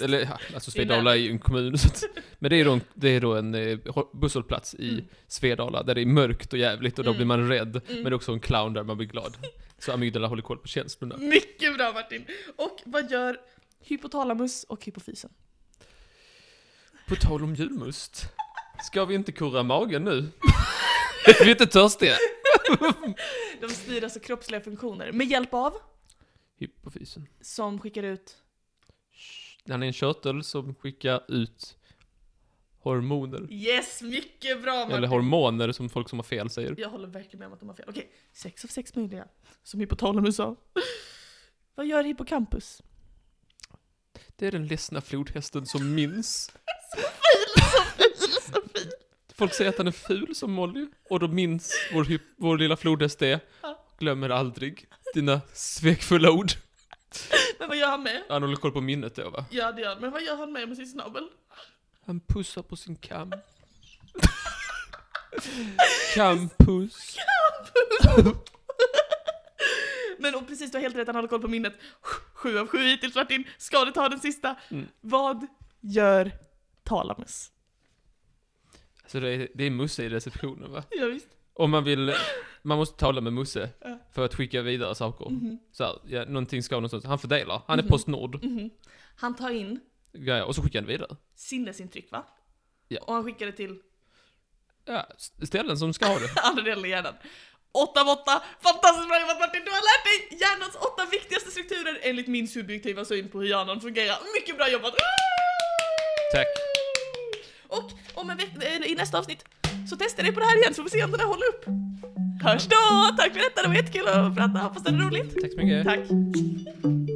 A: Eller ja, alltså
B: Det är
A: Svedala är ju en kommun. Så att, men det är, då en, det är då en eh, hå- busshållplats i
B: Mm.
A: Svedala där det är mörkt och jävligt och då
B: Mm.
A: blir man rädd. Men det
B: Mm.
A: är också en clown där man blir glad. Så amygdala håller koll på känslorna.
B: Mycket bra Martin! Och vad gör hypotalamus och hypofysen?
A: På tal om julmust. Ska vi inte kurra magen nu? är vi inte törstiga?
B: De styr alltså kroppsliga funktioner med hjälp av,
A: Hypofysen.
B: som skickar ut...
A: Han är en körtel som skickar ut Hormoner.
B: Yes, mycket bra Martin!
A: Eller hormoner som folk som har fel säger.
B: Jag håller verkligen med om att de har fel. Okej, sex av sex möjliga. Som Hypotalmus sa. Vad gör hippocampus?
A: Det är den ledsna flodhästen som minns.
B: Så fil, så fil, så fil.
A: Folk säger att han är ful som Molly, och då minns vår, hy- vår lilla flodhäst det. Glömmer aldrig dina svekfulla ord.
B: Men vad gör han med?
A: Han håller koll på minnet då va?
B: Ja det gör han, men vad gör han med med sin snabel?
A: Han pussar på sin kam. Campus.
B: Men och precis, du har helt rätt, han håller koll på minnet. Sju av sju hittills Martin, ska du ta den sista?
A: Mm.
B: Vad gör Talamus?
A: Alltså det är, det är Musse i receptionen va?
B: Ja, visst.
A: Om man vill, man måste tala med Musse
B: Ja.
A: för att skicka vidare saker.
B: Mhm,
A: Så här, ja, någonting ska någonstans. Han fördelar. Han är
B: Mhm.
A: Postnord.
B: mhm. Han tar in
A: Ja, och så skickar han vidare.
B: sinnesintryck va?
A: Ja.
B: Och han skickar det till
A: Ja, s- ställen som ska ha det.
B: andra delen i hjärnan. Åtta av åtta, fantastiskt bra jobbat Martin! Du har lärt dig hjärnans åtta viktigaste strukturer enligt min subjektiva syn på hur hjärnan fungerar. Mycket bra jobbat!
A: Tack.
B: Och om en veck- eller i nästa avsnitt så testar jag det på det här igen så får vi se om den här håller upp. Hörs då! Tack för detta, det var jättekul att prata. Hoppas det är roligt.
A: Tack så mycket.
B: Tack!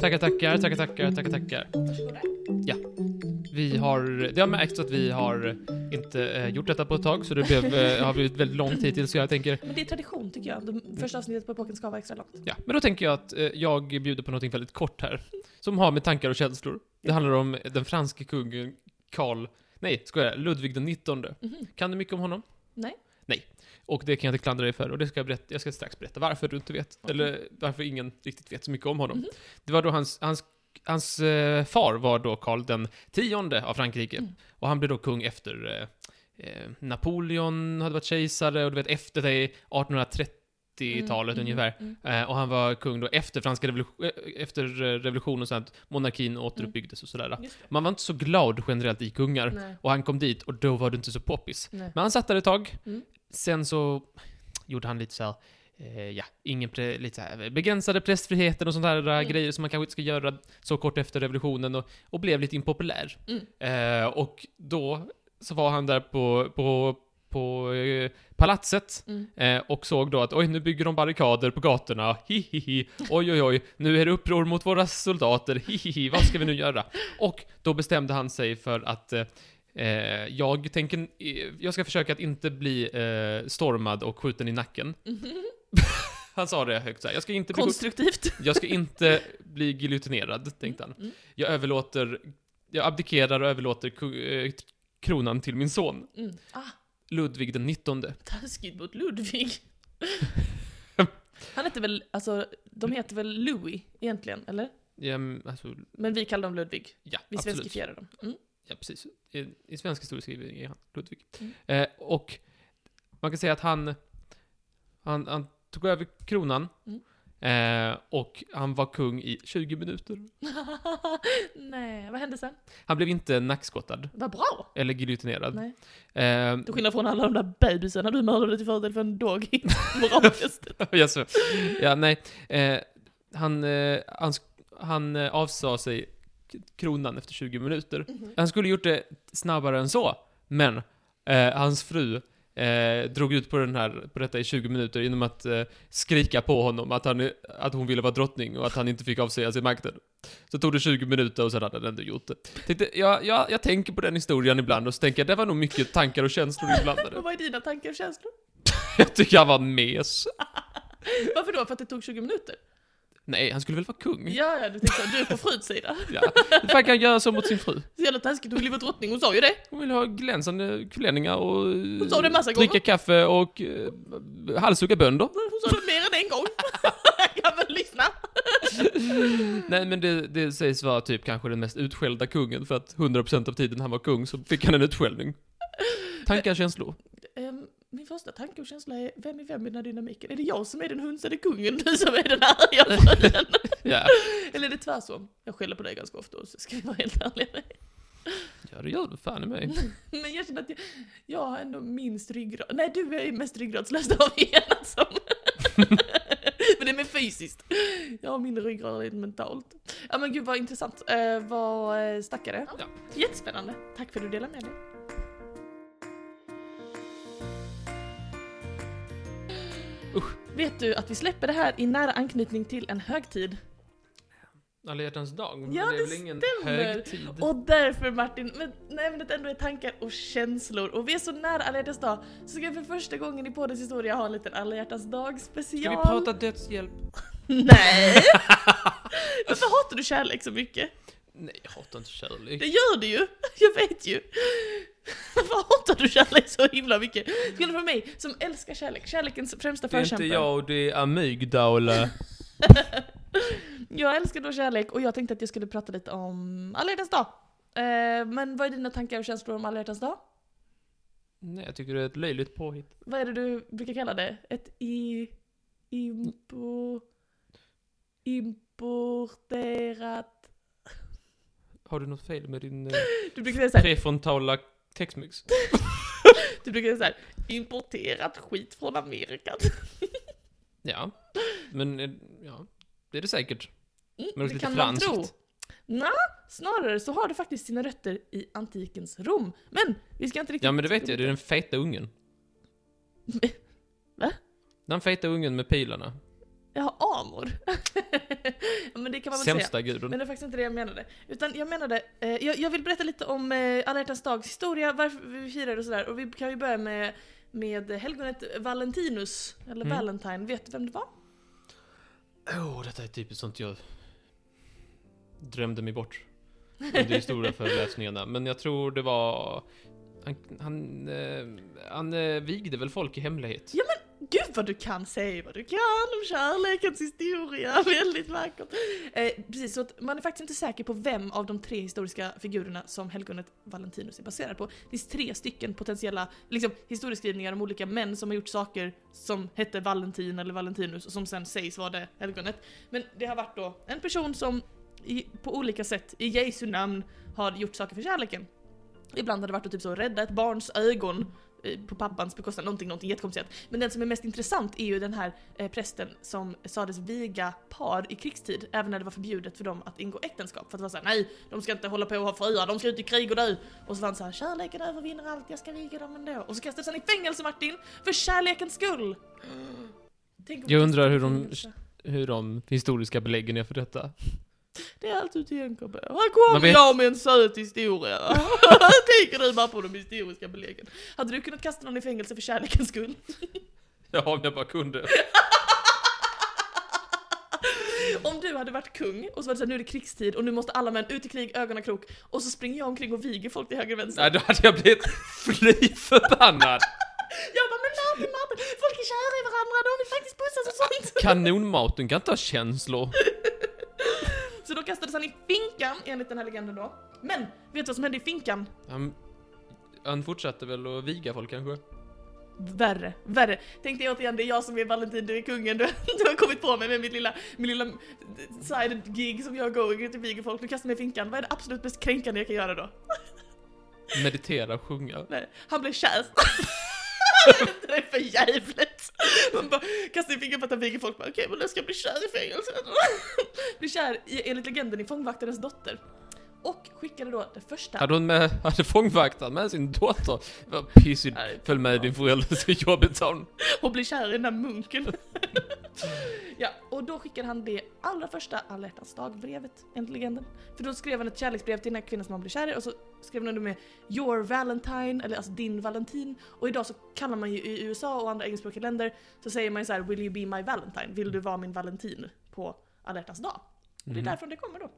A: Tackar, tackar, tackar, tackar, tackar, tackar.
B: Varsågoda.
A: Vi har, det har märkts att vi har inte eh, gjort detta på ett tag, så det blev, eh, har blivit väldigt lång tid till, så jag tänker,
B: Men det är tradition tycker jag. Det första avsnittet på Pocken ska vara extra långt.
A: ja, men då tänker jag att eh, jag bjuder på någonting väldigt kort här, som har med tankar och känslor. Det handlar om den franske kungen Karl, nej, skojar, jag, Ludvig den 19.
B: Mhm.
A: Kan du mycket om honom?
B: Nej.
A: Nej. Och det kan jag inte klandra dig för, och det ska jag berätta, jag ska strax berätta varför du inte vet,
B: Okej.
A: eller varför ingen riktigt vet så mycket om honom.
B: Mhm.
A: Det var då hans, hans, hans eh, far var då Karl den tionde av Frankrike,
B: Mm.
A: och han blev då kung efter eh, eh, Napoleon hade varit kejsare, och du vet efter det, 1830-talet
B: Mm,
A: ungefär.
B: mm,
A: Eh, och han var kung då efter franska revolution, efter eh, revolutionen, och sånt, monarkin återuppbyggdes och sådär.
B: mm. Just det.
A: Man var inte så glad generellt i kungar,
B: Mm. Nej.
A: och han kom dit, och då var det inte så poppis.
B: Nej.
A: Men han satt där ett tag.
B: Mm.
A: Sen så gjorde han lite så här, eh, ja, ingen pre, lite så här, begränsade pressfriheten och sånt där
B: Mm.
A: grejer som man kanske inte ska göra så kort efter revolutionen och, och blev lite impopulär.
B: Mm.
A: Eh, och då så var han där på, på, på eh, palatset
B: Mm.
A: eh, och såg då att oj, nu bygger de barrikader på gatorna, hihihi, oj oj oj, nu är det uppror mot våra soldater, hihihi, vad ska vi nu göra? Och då bestämde han sig för att eh, eh, jag tänker, eh, jag ska försöka att inte bli eh, stormad och skjuten i nacken.
B: Mhm.
A: Han sa det högt så här, jag ska inte bli, skjut-
B: Konstruktivt.
A: jag ska inte bli giljotinerad, tänkte han.
B: Mm.
A: Jag överlåter, jag abdikerar och överlåter ku- eh, kronan till min son,
B: Mm. Ah,
A: Ludvig den 19.
B: taskigt mot Ludvig. Han heter väl, alltså, de heter väl Louis egentligen, eller?
A: Ja, men, alltså,
B: Men vi kallar dem Ludvig.
A: ja,
B: Vi
A: absolut.
B: svenskifierar dem. Mm.
A: Ja, precis. I, i svensk historieskrivning är han Ludvig.
B: Mm.
A: Eh, och man kan säga att han, han, han tog över kronan
B: Mm.
A: eh, och han var kung i 20 minuter.
B: Nej, vad hände sen?
A: Han blev inte nackskottad
B: Vad bra!
A: eller giljotinerad.
B: Nej.
A: Eh,
B: Till skillnad från alla de där bebisarna du mördade till fördel för en doggy. Moralfesten.
A: ja, så. ja, nej. Eh, han eh, han, sk- han eh, avsade sig k- kronan efter 20 minuter. Han skulle gjort det snabbare än så, men eh, hans fru eh, drog ut på, den här, på detta i 20 minuter genom att eh, skrika på honom att, han, att hon ville vara drottning och att han inte fick avsäga sig makten. Så tog det 20 minuter och sen hade han ändå gjort det. Tänkte, jag, jag, jag tänker på den historien ibland och så tänker jag, det var nog mycket tankar och känslor inblandade.
B: Och vad är dina tankar och känslor?
A: Jag tycker han var en mes.
B: Varför då? För att det tog 20 minuter?
A: Nej, han skulle väl vara kung?
B: Ja, ja, du tänkte så. Du är på fruns sida.
A: Ja. Hur fan kan han göra så mot sin fru?
B: Så jävla taskigt, hon ville vara drottning, hon sa ju det.
A: Hon vill ha glänsande klänningar och... Hon
B: sa det en massa gånger.
A: Dricka kaffe och eh, halshugga bönder.
B: Hon sa det mer än en gång. Jag kan väl lyssna.
A: Nej men det, det sägs vara typ kanske den mest utskällda kungen för att 100% av tiden han var kung så fick han en utskällning. Tankar, känslor.
B: Ehm, Min första tanke och känsla är, vem är vem i den här dynamiken? Är det jag som är den hunsade kungen, du som är den arga frun?
A: Ja.
B: Eller är det tvärtom? Jag skäller på dig ganska ofta, så ska jag vara helt ärlig med dig.
A: Ja, det gör du fan i mig.
B: Men jag känner att jag, jag har ändå minst ryggrad. Nej, du är ju mest ryggradslös av er alltså. men det är mer fysiskt. Jag har mindre ryggrad rent mentalt. Ja men gud vad intressant. Eh, vad eh, stackare.
A: Ja.
B: Jättespännande. Tack för att du delade med dig. Usch. Vet du att vi släpper det här i nära anknytning till en högtid?
A: Alla hjärtans dag. men
B: Ja,
A: det är
B: det
A: väl ingen
B: stämmer.
A: högtid.
B: Och därför Martin, men när ämnet ändå är tankar och känslor och vi är så nära alla hjärtans dag så ska vi för första gången i poddens historia ha en liten alla hjärtans dag special.
A: Ska vi prata dödshjälp?
B: Nej! Varför hatar du kärlek så mycket?
A: Nej, jag hatar inte
B: Det
A: kärlek.
B: gör du ju! Jag vet ju! Varför hatar du kärlek så himla mycket? Skulle för mig som älskar kärlek, kärlekens främsta
A: Det är inte
B: förkämpe.
A: jag och det är amygdala.
B: Jag älskar då kärlek och jag tänkte att jag skulle prata lite om alla hjärtans dag. Eh, men vad är dina tankar och känslor om alla hjärtans dag?
A: Nej, jag tycker det är ett löjligt påhitt.
B: vad är det du brukar kalla det? Ett i... Impo... Importerat...
A: Har du något fel med din eh,
B: Du brukar säga såhär,
A: prefrontala texmix?
B: du brukar säga såhär, importerat skit från Amerika.
A: Ja, men eh, ja, det är det säkert.
B: Mm,
A: Men det är
B: det
A: lite
B: kan man tro.
A: franskt.
B: Nå, snarare så har det faktiskt sina rötter i antikens Rom. Men vi ska inte riktigt...
A: Ja, men det vet jag. Det är den feta ungen.
B: Va?
A: Den feta ungen med pilarna.
B: Jag har amor. ja, men det kan man väl säga.
A: Sämsta guden.
B: Men det var faktiskt inte det jag menade. Utan jag menade, eh, jag, jag vill berätta lite om eh, alla hjärtans dags historia, varför vi firar och sådär. Och vi kan ju börja med, med helgonet Valentinus, eller
A: Mm.
B: Valentine. Vet du vem det var?
A: Åh, detta är typiskt sånt jag drömde mig bort under historiaföreläsningarna. Men jag tror det var... Han, han, eh, han eh, vigde väl folk i hemlighet?
B: Gud vad du kan säga vad du kan om kärlekens historia, väldigt vackert. Eh, precis, så att man är faktiskt inte säker på vem av de tre historiska figurerna som helgonet Valentinus är baserad på. Det finns tre stycken potentiella liksom, historieskrivningar om olika män som har gjort saker som hette Valentin eller Valentinus och som sen sägs vara det helgonet. Men det har varit då en person som i, på olika sätt i Jesu namn har gjort saker för kärleken. Ibland har det varit att typ så rädda ett barns ögon eh, på pappans bekostnad, någonting, någonting jättekonstigt. Men den som är mest intressant är ju den här eh, prästen som sades viga par i krigstid, även när det var förbjudet för dem att ingå äktenskap. För att det var såhär, nej, de ska inte hålla på och ha fruar, de ska ut i krig och dö. Och så var han såhär, kärleken övervinner allt, jag ska viga dem ändå. Och så kastades han i fängelse Martin, för kärlekens skull! Tänk om-
A: Jag undrar hur de- Hur de historiska beläggen är för detta.
B: Det är allt du tänker på. Här kommer
A: Man vet-
B: jag med en söt historia. Tänker du bara på de historiska beläggen. Hade du kunnat kasta någon i fängelse för kärlekens skull?
A: Ja, om jag bara kunde.
B: Om du hade varit kung och så var det såhär, nu är det krigstid och nu måste alla män ut i krig, ögonen i krok. Och så springer jag omkring och viger folk till höger och vänster.
A: Nej, då hade jag blivit fly förbannad.
B: Jag bara, men Martin, Martin, folk är kära i varandra, de vill faktiskt pussas och sånt.
A: Kanonmaten kan inte ha känslor.
B: Så då kastades han i finkan, enligt den här legenden då. Men, vet du vad som hände i finkan?
A: Han, han fortsatte väl att viga folk kanske?
B: Värre, värre. Tänk dig återigen, det är jag som är Valentin, du är kungen, du, du har kommit på mig med mitt lilla, min lilla side-gig som jag går ut och viger folk, du kastar mig i finkan. Vad är det absolut mest kränkande jag kan göra då?
A: Meditera, sjunga.
B: Nej, han blev kär. det är för jävligt. Man bara kastar i finkan för att han viger folk, bara, okej men jag ska bli kär i fängelset. bli kär i, enligt legenden i fångvaktarens dotter. Och skickade då det första
A: Hade hon med, hade fångvaktaren med sin dotter? Vad pissigt.
B: Nej.
A: Följ med din förälder till jobbet sa hon.
B: och blir kär i den där munken. ja, och då skickade han det allra första alla hjärtans dagbrevet, enligt legenden. För då skrev han ett kärleksbrev till den här kvinnan som han blev kär i och så skrev han under med “Your Valentine” eller alltså din Valentin. Och idag så kallar man ju i USA och andra engelskspråkiga länder så säger man ju så här “Will you be my Valentine?” “Vill du vara min Valentin?” på alla hjärtans dag. Och det är
A: Mhm.
B: därifrån det kommer då.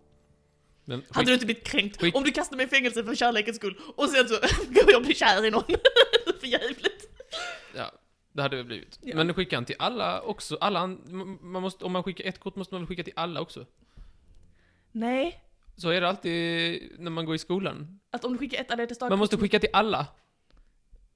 A: Men skick-
B: Hade du inte blivit kränkt
A: Skick-
B: om du kastade mig i fängelse för kärlekens skull och sen så går jag bli kär i någon? för jävligt.
A: ja, det hade det blivit.
B: Ja.
A: Men skicka han till alla också. Alla, an- m- man måste, om man skickar ett kort måste man väl skicka till alla också?
B: Nej,
A: Så är det alltid när man går i skolan.
B: att om du skickar ett alla hjärtans dag
A: Man måste skicka till alla.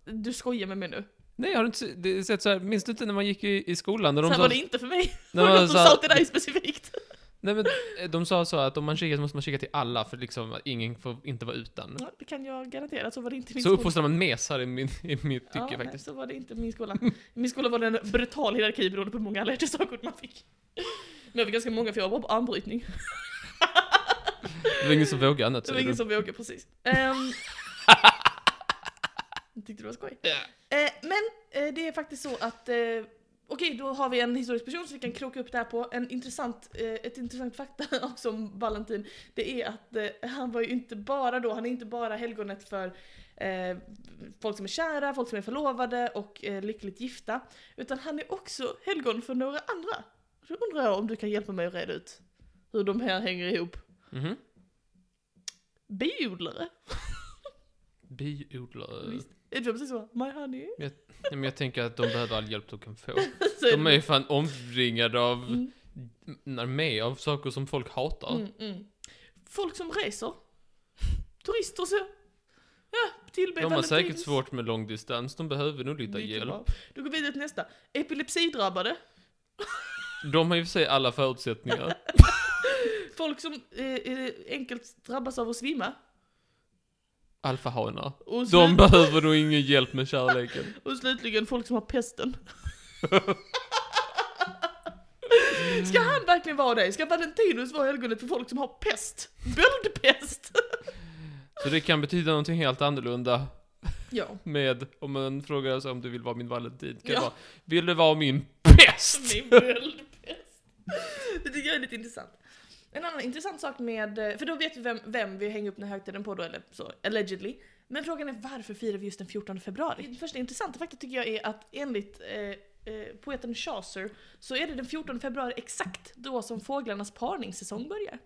B: Du skojar med mig nu.
A: Nej, har du inte se- det- sett så här, minns du inte när man gick i, i skolan? När de
B: Så här
A: sa,
B: var det inte för mig.
A: när
B: var
A: man
B: något de
A: sa-
B: sa till dig specifikt.
A: Nej men eh, de sa så att om man kikar så måste man kika till alla för liksom att ingen får inte vara utan.
B: Ja, Det kan jag garantera, så var det inte i min
A: Så
B: skola.
A: uppfostrar man mesar i, min, i mitt tycke
B: Ja, nej,
A: faktiskt.
B: så var det inte i min skola. I min skola var det en brutal hierarki beroende på hur många allergiska körkort man fick. Men jag fick ganska många för jag var på armbrytning.
A: Det var ingen som vågade annat
B: Det var
A: säger du.
B: ingen som vågade precis. Um, tyckte det var skoj.
A: Ja.
B: Eh, men eh, det är faktiskt så att eh, Okej, då har vi en historisk person som vi kan kroka upp det här på. En intressant, eh, ett intressant fakta också om Valentin, det är att eh, han var ju inte bara då, han är inte bara helgonet för eh, folk som är kära, folk som är förlovade och eh, lyckligt gifta. Utan han är också helgon för några andra. Så undrar jag om du kan hjälpa mig att reda ut hur de här hänger ihop.
A: Mhm.
B: Biodlare?
A: Biodlare.
B: Visst. Är det precis så? My honey?
A: Nej, men jag tänker att de behöver all hjälp de kan få.
B: Så
A: De är
B: det-
A: ju fan omringade av
B: Mm.
A: en armé av saker som folk hatar.
B: Mm, mm. Folk som reser. Turister så. Ja, tillber
A: De har
B: Valentinus.
A: säkert svårt med långdistans, de behöver nog lite
B: Mycket
A: hjälp.
B: bra. Då går vi vidare till nästa. Epilepsidrabbade.
A: De har ju för sig alla förutsättningar.
B: Folk som eh, eh, enkelt drabbas av att svimma.
A: Alfahanar.
B: Och, slut-
A: De behöver nog ingen hjälp med kärleken.
B: och slutligen folk som har pesten. Ska han verkligen vara det? Ska Valentinus vara helgonet för folk som har pest? Böldpest!
A: Så det kan betyda någonting helt annorlunda
B: Ja,
A: med, om man frågar sig om du vill vara min valentin, kan
B: Ja.
A: det vara, vill du vara min pest?
B: min böldpest. Typ. Det tycker jag är lite intressant. En annan intressant sak med, eh, för då vet vi vem, vem vi hänger upp den här högtiden på då, eller så, allegedly. Men frågan är varför firar vi just den 14 februari? Det första intressanta faktum tycker jag är att enligt eh, eh, poeten Chaucer så är det den 14 februari exakt då som fåglarnas parningssäsong börjar.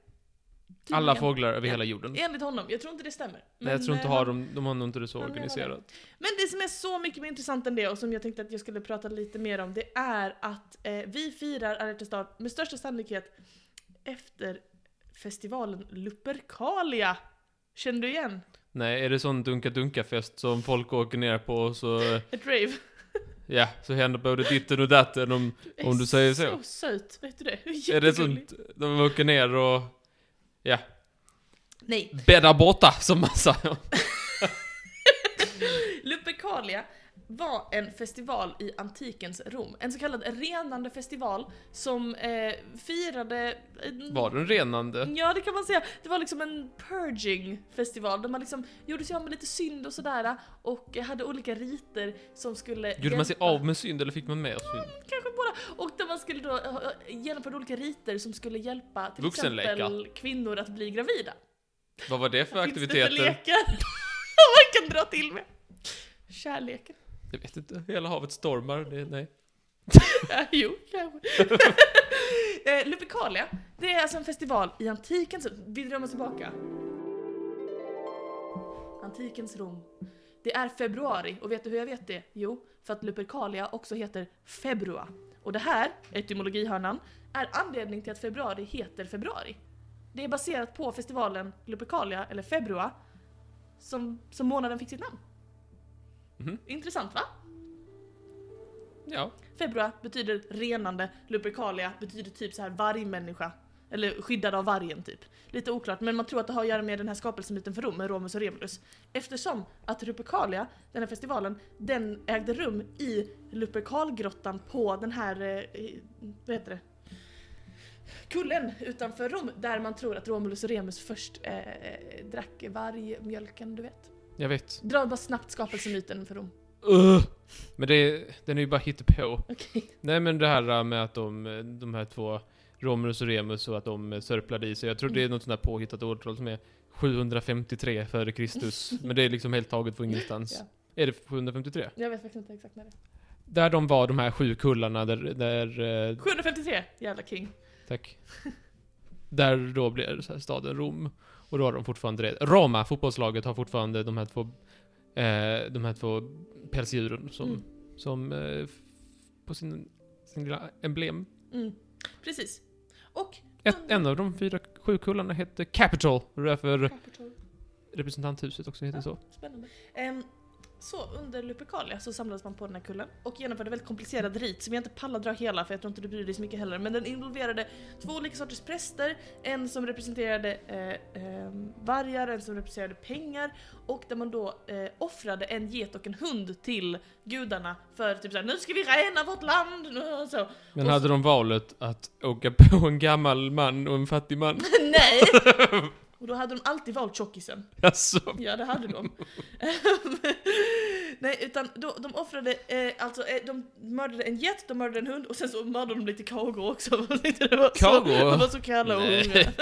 B: Tydligen.
A: Alla fåglar över
B: Ja.
A: hela jorden.
B: Enligt honom, jag tror inte det stämmer.
A: Nej, jag
B: Men,
A: tror inte
B: eh,
A: har
B: han-
A: de, de har nog inte det så
B: han menar det.
A: organiserat.
B: men det som är så mycket mer intressant än det och som jag tänkte att jag skulle prata lite mer om det är att eh, vi firar alla hjärtans dag med största sannolikhet efter festivalen Lupercalia. Känner du igen?
A: Nej, är det sån dunka-dunka-fest som folk åker ner på och så, eh,
B: Ett rave.
A: ja, så händer både ditten och datten om,
B: är
A: om du säger så.
B: Så söt, vet du det?
A: Är det
B: Jättegullig.
A: sånt, de åker ner och, ja,
B: Nej.
A: bäddar borta som man säger.
B: Lupercalia var en festival i antikens Rom. En så kallad renande festival som eh, firade...
A: Var den renande?
B: Ja, det kan man säga. Det var liksom en purging festival där man liksom gjorde sig av med lite synd och sådär och hade olika riter som skulle...
A: Gjorde man sig
B: hjälpa-
A: av med synd eller fick man mer synd?
B: Kanske båda. Och där man skulle då eh, eh, genomföra olika riter som skulle hjälpa till
A: Vuxenlekar.
B: exempel kvinnor att bli gravida.
A: Vad var det för
B: Finns det för
A: aktiviteter?
B: lekar man kan dra till med? Kärleken.
A: Jag vet inte, hela havet stormar, det, nej.
B: Ja, jo, kanske. eh, Lupercalia, det är alltså en festival i antikens... Vi drömmer tillbaka. Antikens Rom. Det är februari, och vet du hur jag vet det? Jo, för att Lupercalia också heter februa. Och det här, etymologihörnan, är anledning till att februari heter februari. Det är baserat på festivalen Lupercalia, eller februa, som, som månaden fick sitt namn.
A: Mhm.
B: Intressant va?
A: Ja.
B: Februari betyder renande, Lupercalia betyder typ så här vargmänniska. Eller skyddad av vargen typ. Lite oklart, men man tror att det har att göra med den här skapelsemyten för Rom, med Romus och Remulus. Eftersom att Lupercalia, den här festivalen, den ägde rum i Lupercalgrottan på den här, eh, i- vad heter det? Kullen utanför Rom, där man tror att Romulus och Remus först eh, eh, drack vargmjölken, du vet.
A: Jag vet.
B: Dra bara snabbt skapelsemyten för Rom.
A: Ugh. Men det, den är ju bara hittepå.
B: Okej.
A: Nej men det här äh, med att de, äh, de här två, Romulus och Remus, och att de äh, sörplade i sig. Jag tror det är något sånt där påhittat årtal som är 753 före Kristus. Men det är liksom helt taget från ingenstans. Är det 753?
B: Jag vet faktiskt inte exakt när det är.
A: Där de var, de här sju kullarna, där, där äh,
B: 753, jävla king.
A: Tack. Där då blir så här staden Rom. Och då har de fortfarande det. Roma, fotbollslaget, har fortfarande de här två, eh, de här två pälsdjuren som,
B: Mm.
A: som eh, f- på sin, sin lilla emblem.
B: Mm. Precis. Och...
A: Ett, en av de fyra sju kullarna hette Capital. Och därför
B: Capital.
A: representanthuset också heter så.
B: Spännande. Ehm, Så under Lupercalia så samlades man på den här kullen och genomförde väldigt komplicerad rit som jag inte pallar dra hela för jag tror inte du bryr dig så mycket heller. Men den involverade två olika sorters präster, en som representerade eh, eh, vargar, en som representerade pengar och där man då eh, offrade en get och en hund till gudarna för typ såhär nu ska vi rena vårt land! nu- Så.
A: Men
B: Och
A: hade
B: så-
A: de valet att åka på en gammal man och en fattig man?
B: Nej! Och då hade de alltid valt tjockisen.
A: Alltså,
B: Ja, det hade de. Nej, utan då, de offrade, eh, alltså eh, de mördade en get, de mördade en hund och sen så mördade de lite kagor också. Jag tyckte det var så-
A: Kagor?
B: De var så kalla och
A: Nej.
B: hungriga.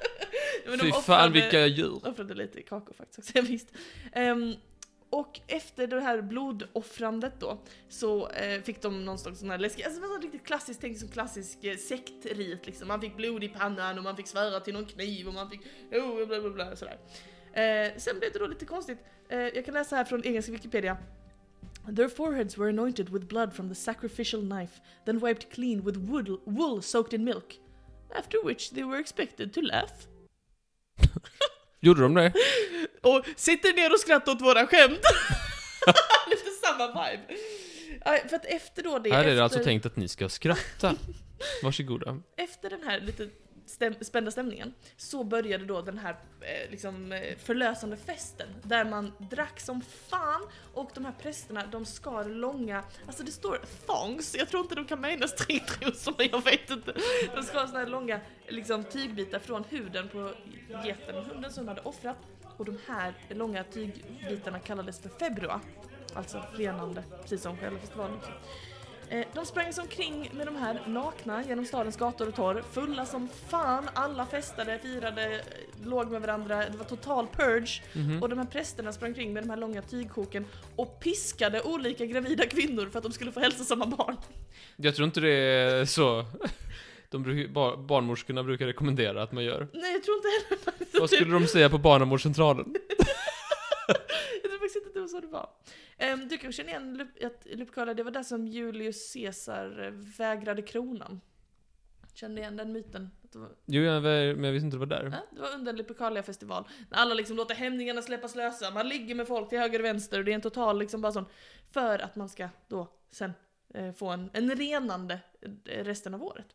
B: Men de
A: fy
B: offrade-
A: fan vilka djur.
B: offrade lite kakor faktiskt också, ja, visst. Ehm, och efter det här blodoffrandet då så eh, fick de någon slags sån här läskig, alltså det var så riktigt klassiskt, tänk som klassisk eh, sektrit liksom. Man fick blod i pannan och man fick svära till någon kniv och man fick oh, bla bla bla sådär. Eh, sen blev det då lite konstigt, eh, jag kan läsa här från engelska Wikipedia. Their foreheads were anointed with blood from the sacrificial knife, then wiped clean with wood, wool soaked in milk. After which they were expected to laugh.
A: Gjorde de det?
B: Och sitter ner och skrattar åt våra skämt. Lite samma vibe. Nej, För att efter då det,
A: Här är
B: efter,
A: det alltså tänkt att ni ska skratta. Varsågoda.
B: efter den här lite stäm, spända stämningen så började då den här eh, liksom, eh, förlösande festen där man drack som fan och de här prästerna de skar långa, alltså det står thongs, jag tror inte de kan mena stringtrosorna, jag vet inte. De skar såna här långa liksom, tygbitar från huden på geten och hunden som de hade offrat och de här långa tygbitarna kallades för februa, alltså renande, precis som själva festivalen. Eh, De sprang omkring med de här nakna genom stadens gator och torg, fulla som fan, alla festade, firade, eh, låg med varandra, det var total purge.
A: Mhm. Mm.
B: Och de här prästerna sprang omkring med de här långa tygkoken och piskade olika gravida kvinnor för att de skulle få hälsosamma barn.
A: Jag tror inte det är så. De bruk, bar, barnmorskorna brukar rekommendera att man gör.
B: Nej jag tror inte heller faktiskt
A: Vad
B: att det-
A: skulle de säga på barnavårdscentralen?
B: Jag tror faktiskt inte att det var så det var. Ehm, Du kanske känner igen Lup- att Lupercalia, det var där som Julius Caesar eh, vägrade kronan. Känner du igen den myten? Att det var-
A: Jo, jag, var- men jag visste inte det var där.
B: Ja, det var under en Lupercalia-festival. När alla liksom låter hämningarna släppas lösa, man ligger med folk till höger och vänster och det är en total liksom bara sån. För att man ska då sen eh, få en, en renande eh, resten av året.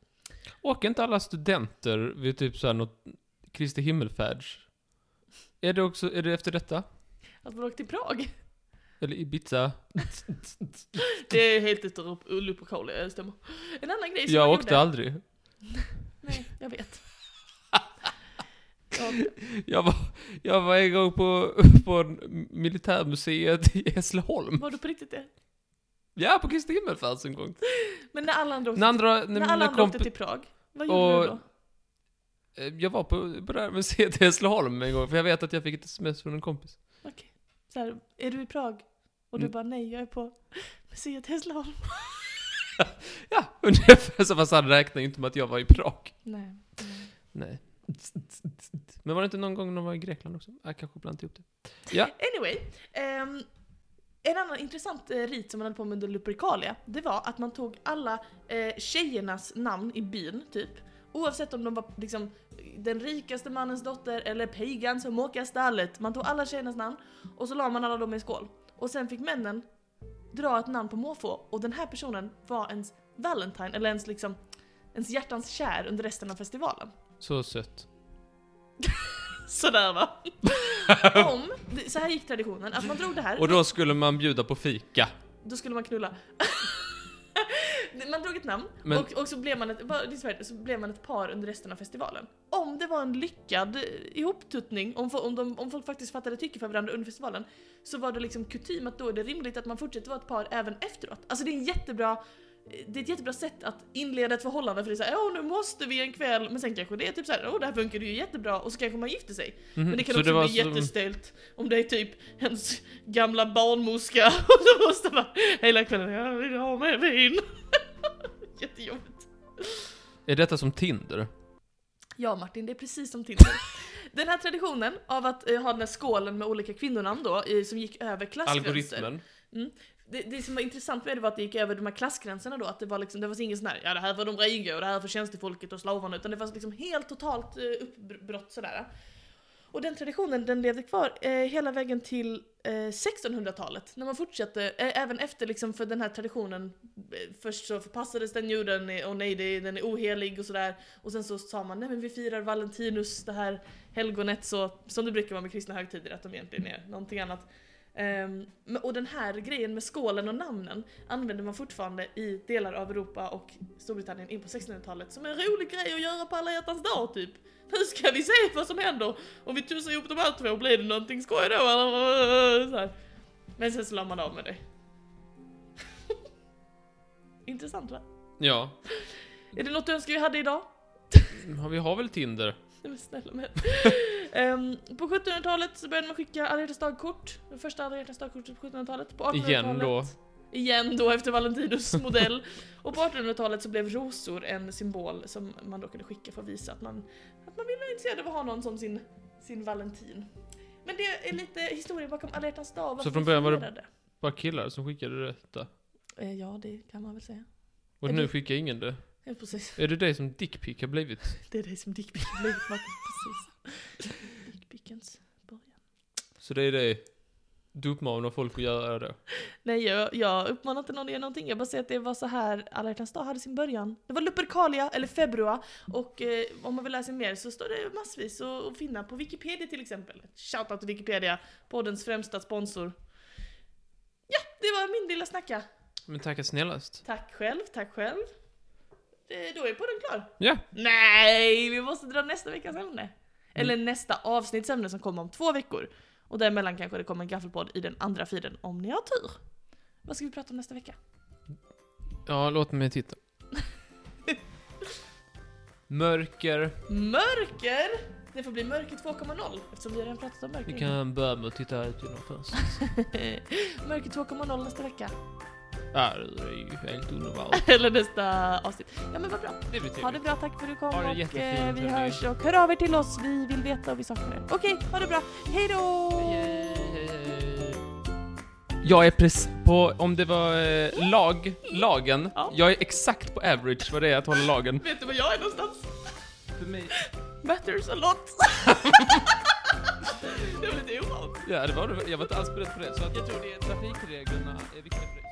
A: Åker inte alla studenter vid typ såhär något Kristi himmelfärds? Är det också, är det efter detta?
B: Att man åker till Prag.
A: Eller Ibiza?
B: Det är helt efter Lup- Lupercalia, det stämmer. En annan grej som
A: Jag
B: man
A: åkte
B: gjorde.
A: aldrig.
B: Nej, jag vet.
A: Jag var, jag var en gång på, på en militärmuseet i Hässleholm.
B: Var du på riktigt det?
A: Ja, på Kristi himmelfärds en gång.
B: Men när alla andra åkte,
A: När andra, när,
B: när
A: mina
B: alla andra
A: komp-
B: åkte till Prag, vad gjorde
A: Och-
B: du då?
A: Eh, Jag var på, på det här museet i Hässleholm en gång, för jag vet att jag fick ett sms från en kompis.
B: Okej. Så här, är du i Prag? Och du
A: Mm.
B: bara nej, jag är på museet i Hässleholm.
A: Ja, ungefär så, fast han räknade ju inte med att jag var i Prag.
B: Nej. nej.
A: Nej. Men var det inte någon gång de var i Grekland också? Jag kanske blandat ihop det. Ja,
B: Anyway. ehm, en annan intressant eh, rit som man höll på med under Lupercalia, det var att man tog alla eh, tjejernas namn i byn, typ. Oavsett om de var liksom den rikaste mannens dotter eller pigan som mockar stallet. Man tog alla tjejernas namn och så la man alla dem i en skål. Och sen fick männen dra ett namn på måfå och den här personen var ens Valentine, eller ens liksom ens hjärtans kär under resten av festivalen.
A: så sött.
B: Sådär va? Om, så här gick traditionen, att man drog det här
A: Och då skulle man bjuda på fika.
B: då skulle man knulla. man drog ett namn
A: Men-
B: och, och så, blev man ett, bara- det är så här, så blev man ett par under resten av festivalen. Om det var en lyckad eh, ihoptuttning, om, fo- om, de, om folk faktiskt fattade tycke för varandra under festivalen, så var det liksom kutym att då är det rimligt att man fortsätter vara ett par även efteråt. Alltså det är en jättebra eh, det är ett jättebra sätt att inleda ett förhållande för det är såhär åh nu måste vi en kväll men sen kanske det är typ såhär åh det här funkar ju jättebra och så kanske man gifter sig.
A: Mhm,
B: Men det kan
A: så
B: också
A: var
B: bli
A: som-
B: jättestelt om det är typ ens gamla barnmorska och då måste man hela kvällen, jag vill ha med vin. Jättejobbigt.
A: Är detta som Tinder?
B: Ja Martin, det är precis som Tinder. Den här traditionen av att eh, ha den här skålen med olika kvinnonamn då, eh, som gick över klassgränser.
A: Algoritmen?
B: Det, det som var intressant med det var att det gick över de här klassgränserna då, att det var liksom, det var ingen sån här, ja det här var de rika och det här för tjänstefolket och slavarna, utan det var liksom helt totalt eh, uppbrott sådär. Och den traditionen den levde kvar eh, hela vägen till eh, 1600-talet. När man fortsatte, eh, även efter liksom för den här traditionen. Eh, först så förpassades den ju, den är, oh nej det, är- den är ohelig och sådär. Och sen så sa man nej men vi firar Valentinus, det här helgonet så, som det brukar vara med kristna högtider, att de egentligen är någonting annat. Ehm, men- och den här grejen med skålen och namnen använder man fortfarande i delar av Europa och Storbritannien in på 1600-talet som en rolig grej att göra på alla hjärtans dag typ. Nu ska vi se vad som händer om vi tussar ihop de här två, blir det någonting skoj då eller? Så här. Men sen så la man av med det. Intressant va?
A: Ja.
B: Är det något du önskar vi hade idag?
A: Ja, Vi har väl Tinder?
B: Nej men snälla mig. Ehm, på 1700-talet så började man skicka alla hjärtans dagkort. Det första alla hjärtans dagkortet på 1700-talet. På 1800-talet.
A: Igen då.
B: Igen då efter Valentinus modell. Och på 1800-talet så blev rosor en symbol som man då kunde skicka för att visa att man, att man ville intresserad av att ha någon som sin, sin Valentin. Men det är lite historia bakom alla hjärtans dag. varför
A: från början var det-
B: firade.
A: Bara killar som skickade detta.
B: Eh, ja, det kan man väl säga.
A: Och
B: Är
A: nu
B: det-
A: skickar ingen det.
B: Ja, precis.
A: Är det dig som dickpick har blivit?
B: Det är det som dickpicken har blivit, Martin. Precis. Dickpickens början.
A: Så det är det du uppmanar folk att göra då?
B: Nej, jag, jag uppmanar inte någon att göra någonting. Jag bara säger att det var så här Alla hjärtans dag hade sin början. Det var Lupercalia, eller Februa. Och eh, om man vill läsa mer så står det massvis att att finna på Wikipedia till exempel. Shoutout till Wikipedia, poddens främsta sponsor. Ja, det var min lilla snacka.
A: Men tacka snällast.
B: Tack själv, tack själv. Eh, då är podden klar.
A: Ja,
B: Nej, vi måste dra nästa veckas ämne. Eller nästa avsnittsämne som kommer om två veckor. Och däremellan kanske det kommer en gaffelpodd i den andra feeden om ni har tur. Vad ska vi prata om nästa vecka?
A: ja låt mig titta. Mörker.
B: Mörker! Det får bli mörker 2.0 eftersom vi har redan pratat om mörker.
A: Vi kan börja med att titta ut genom fönstret.
B: mörker 2.0 nästa vecka.
A: Ja, det är ju helt underbart.
B: Eller nästa avsnitt. Ja men vad bra.
A: Det blir
B: Ha det
A: trevligt.
B: bra, tack för att du kom
A: Ha det
B: och eh,
A: jättefint, hörni.
B: vi hörs och hör av er till oss. Vi vill veta och vi saknar er. Okej, ha det bra. Hej då!
A: Jag är precis på, om det var eh, lag, lagen.
B: Ja.
A: Jag är exakt på average vad det är att hålla lagen.
B: Vet du var jag är någonstans?
A: För mig,
B: Matters a lot. jag blev lite ovan.
A: ja det var det. Jag var inte alls beredd på det. Så att
B: Jag tror det är
A: trafikreglerna är viktiga för dig.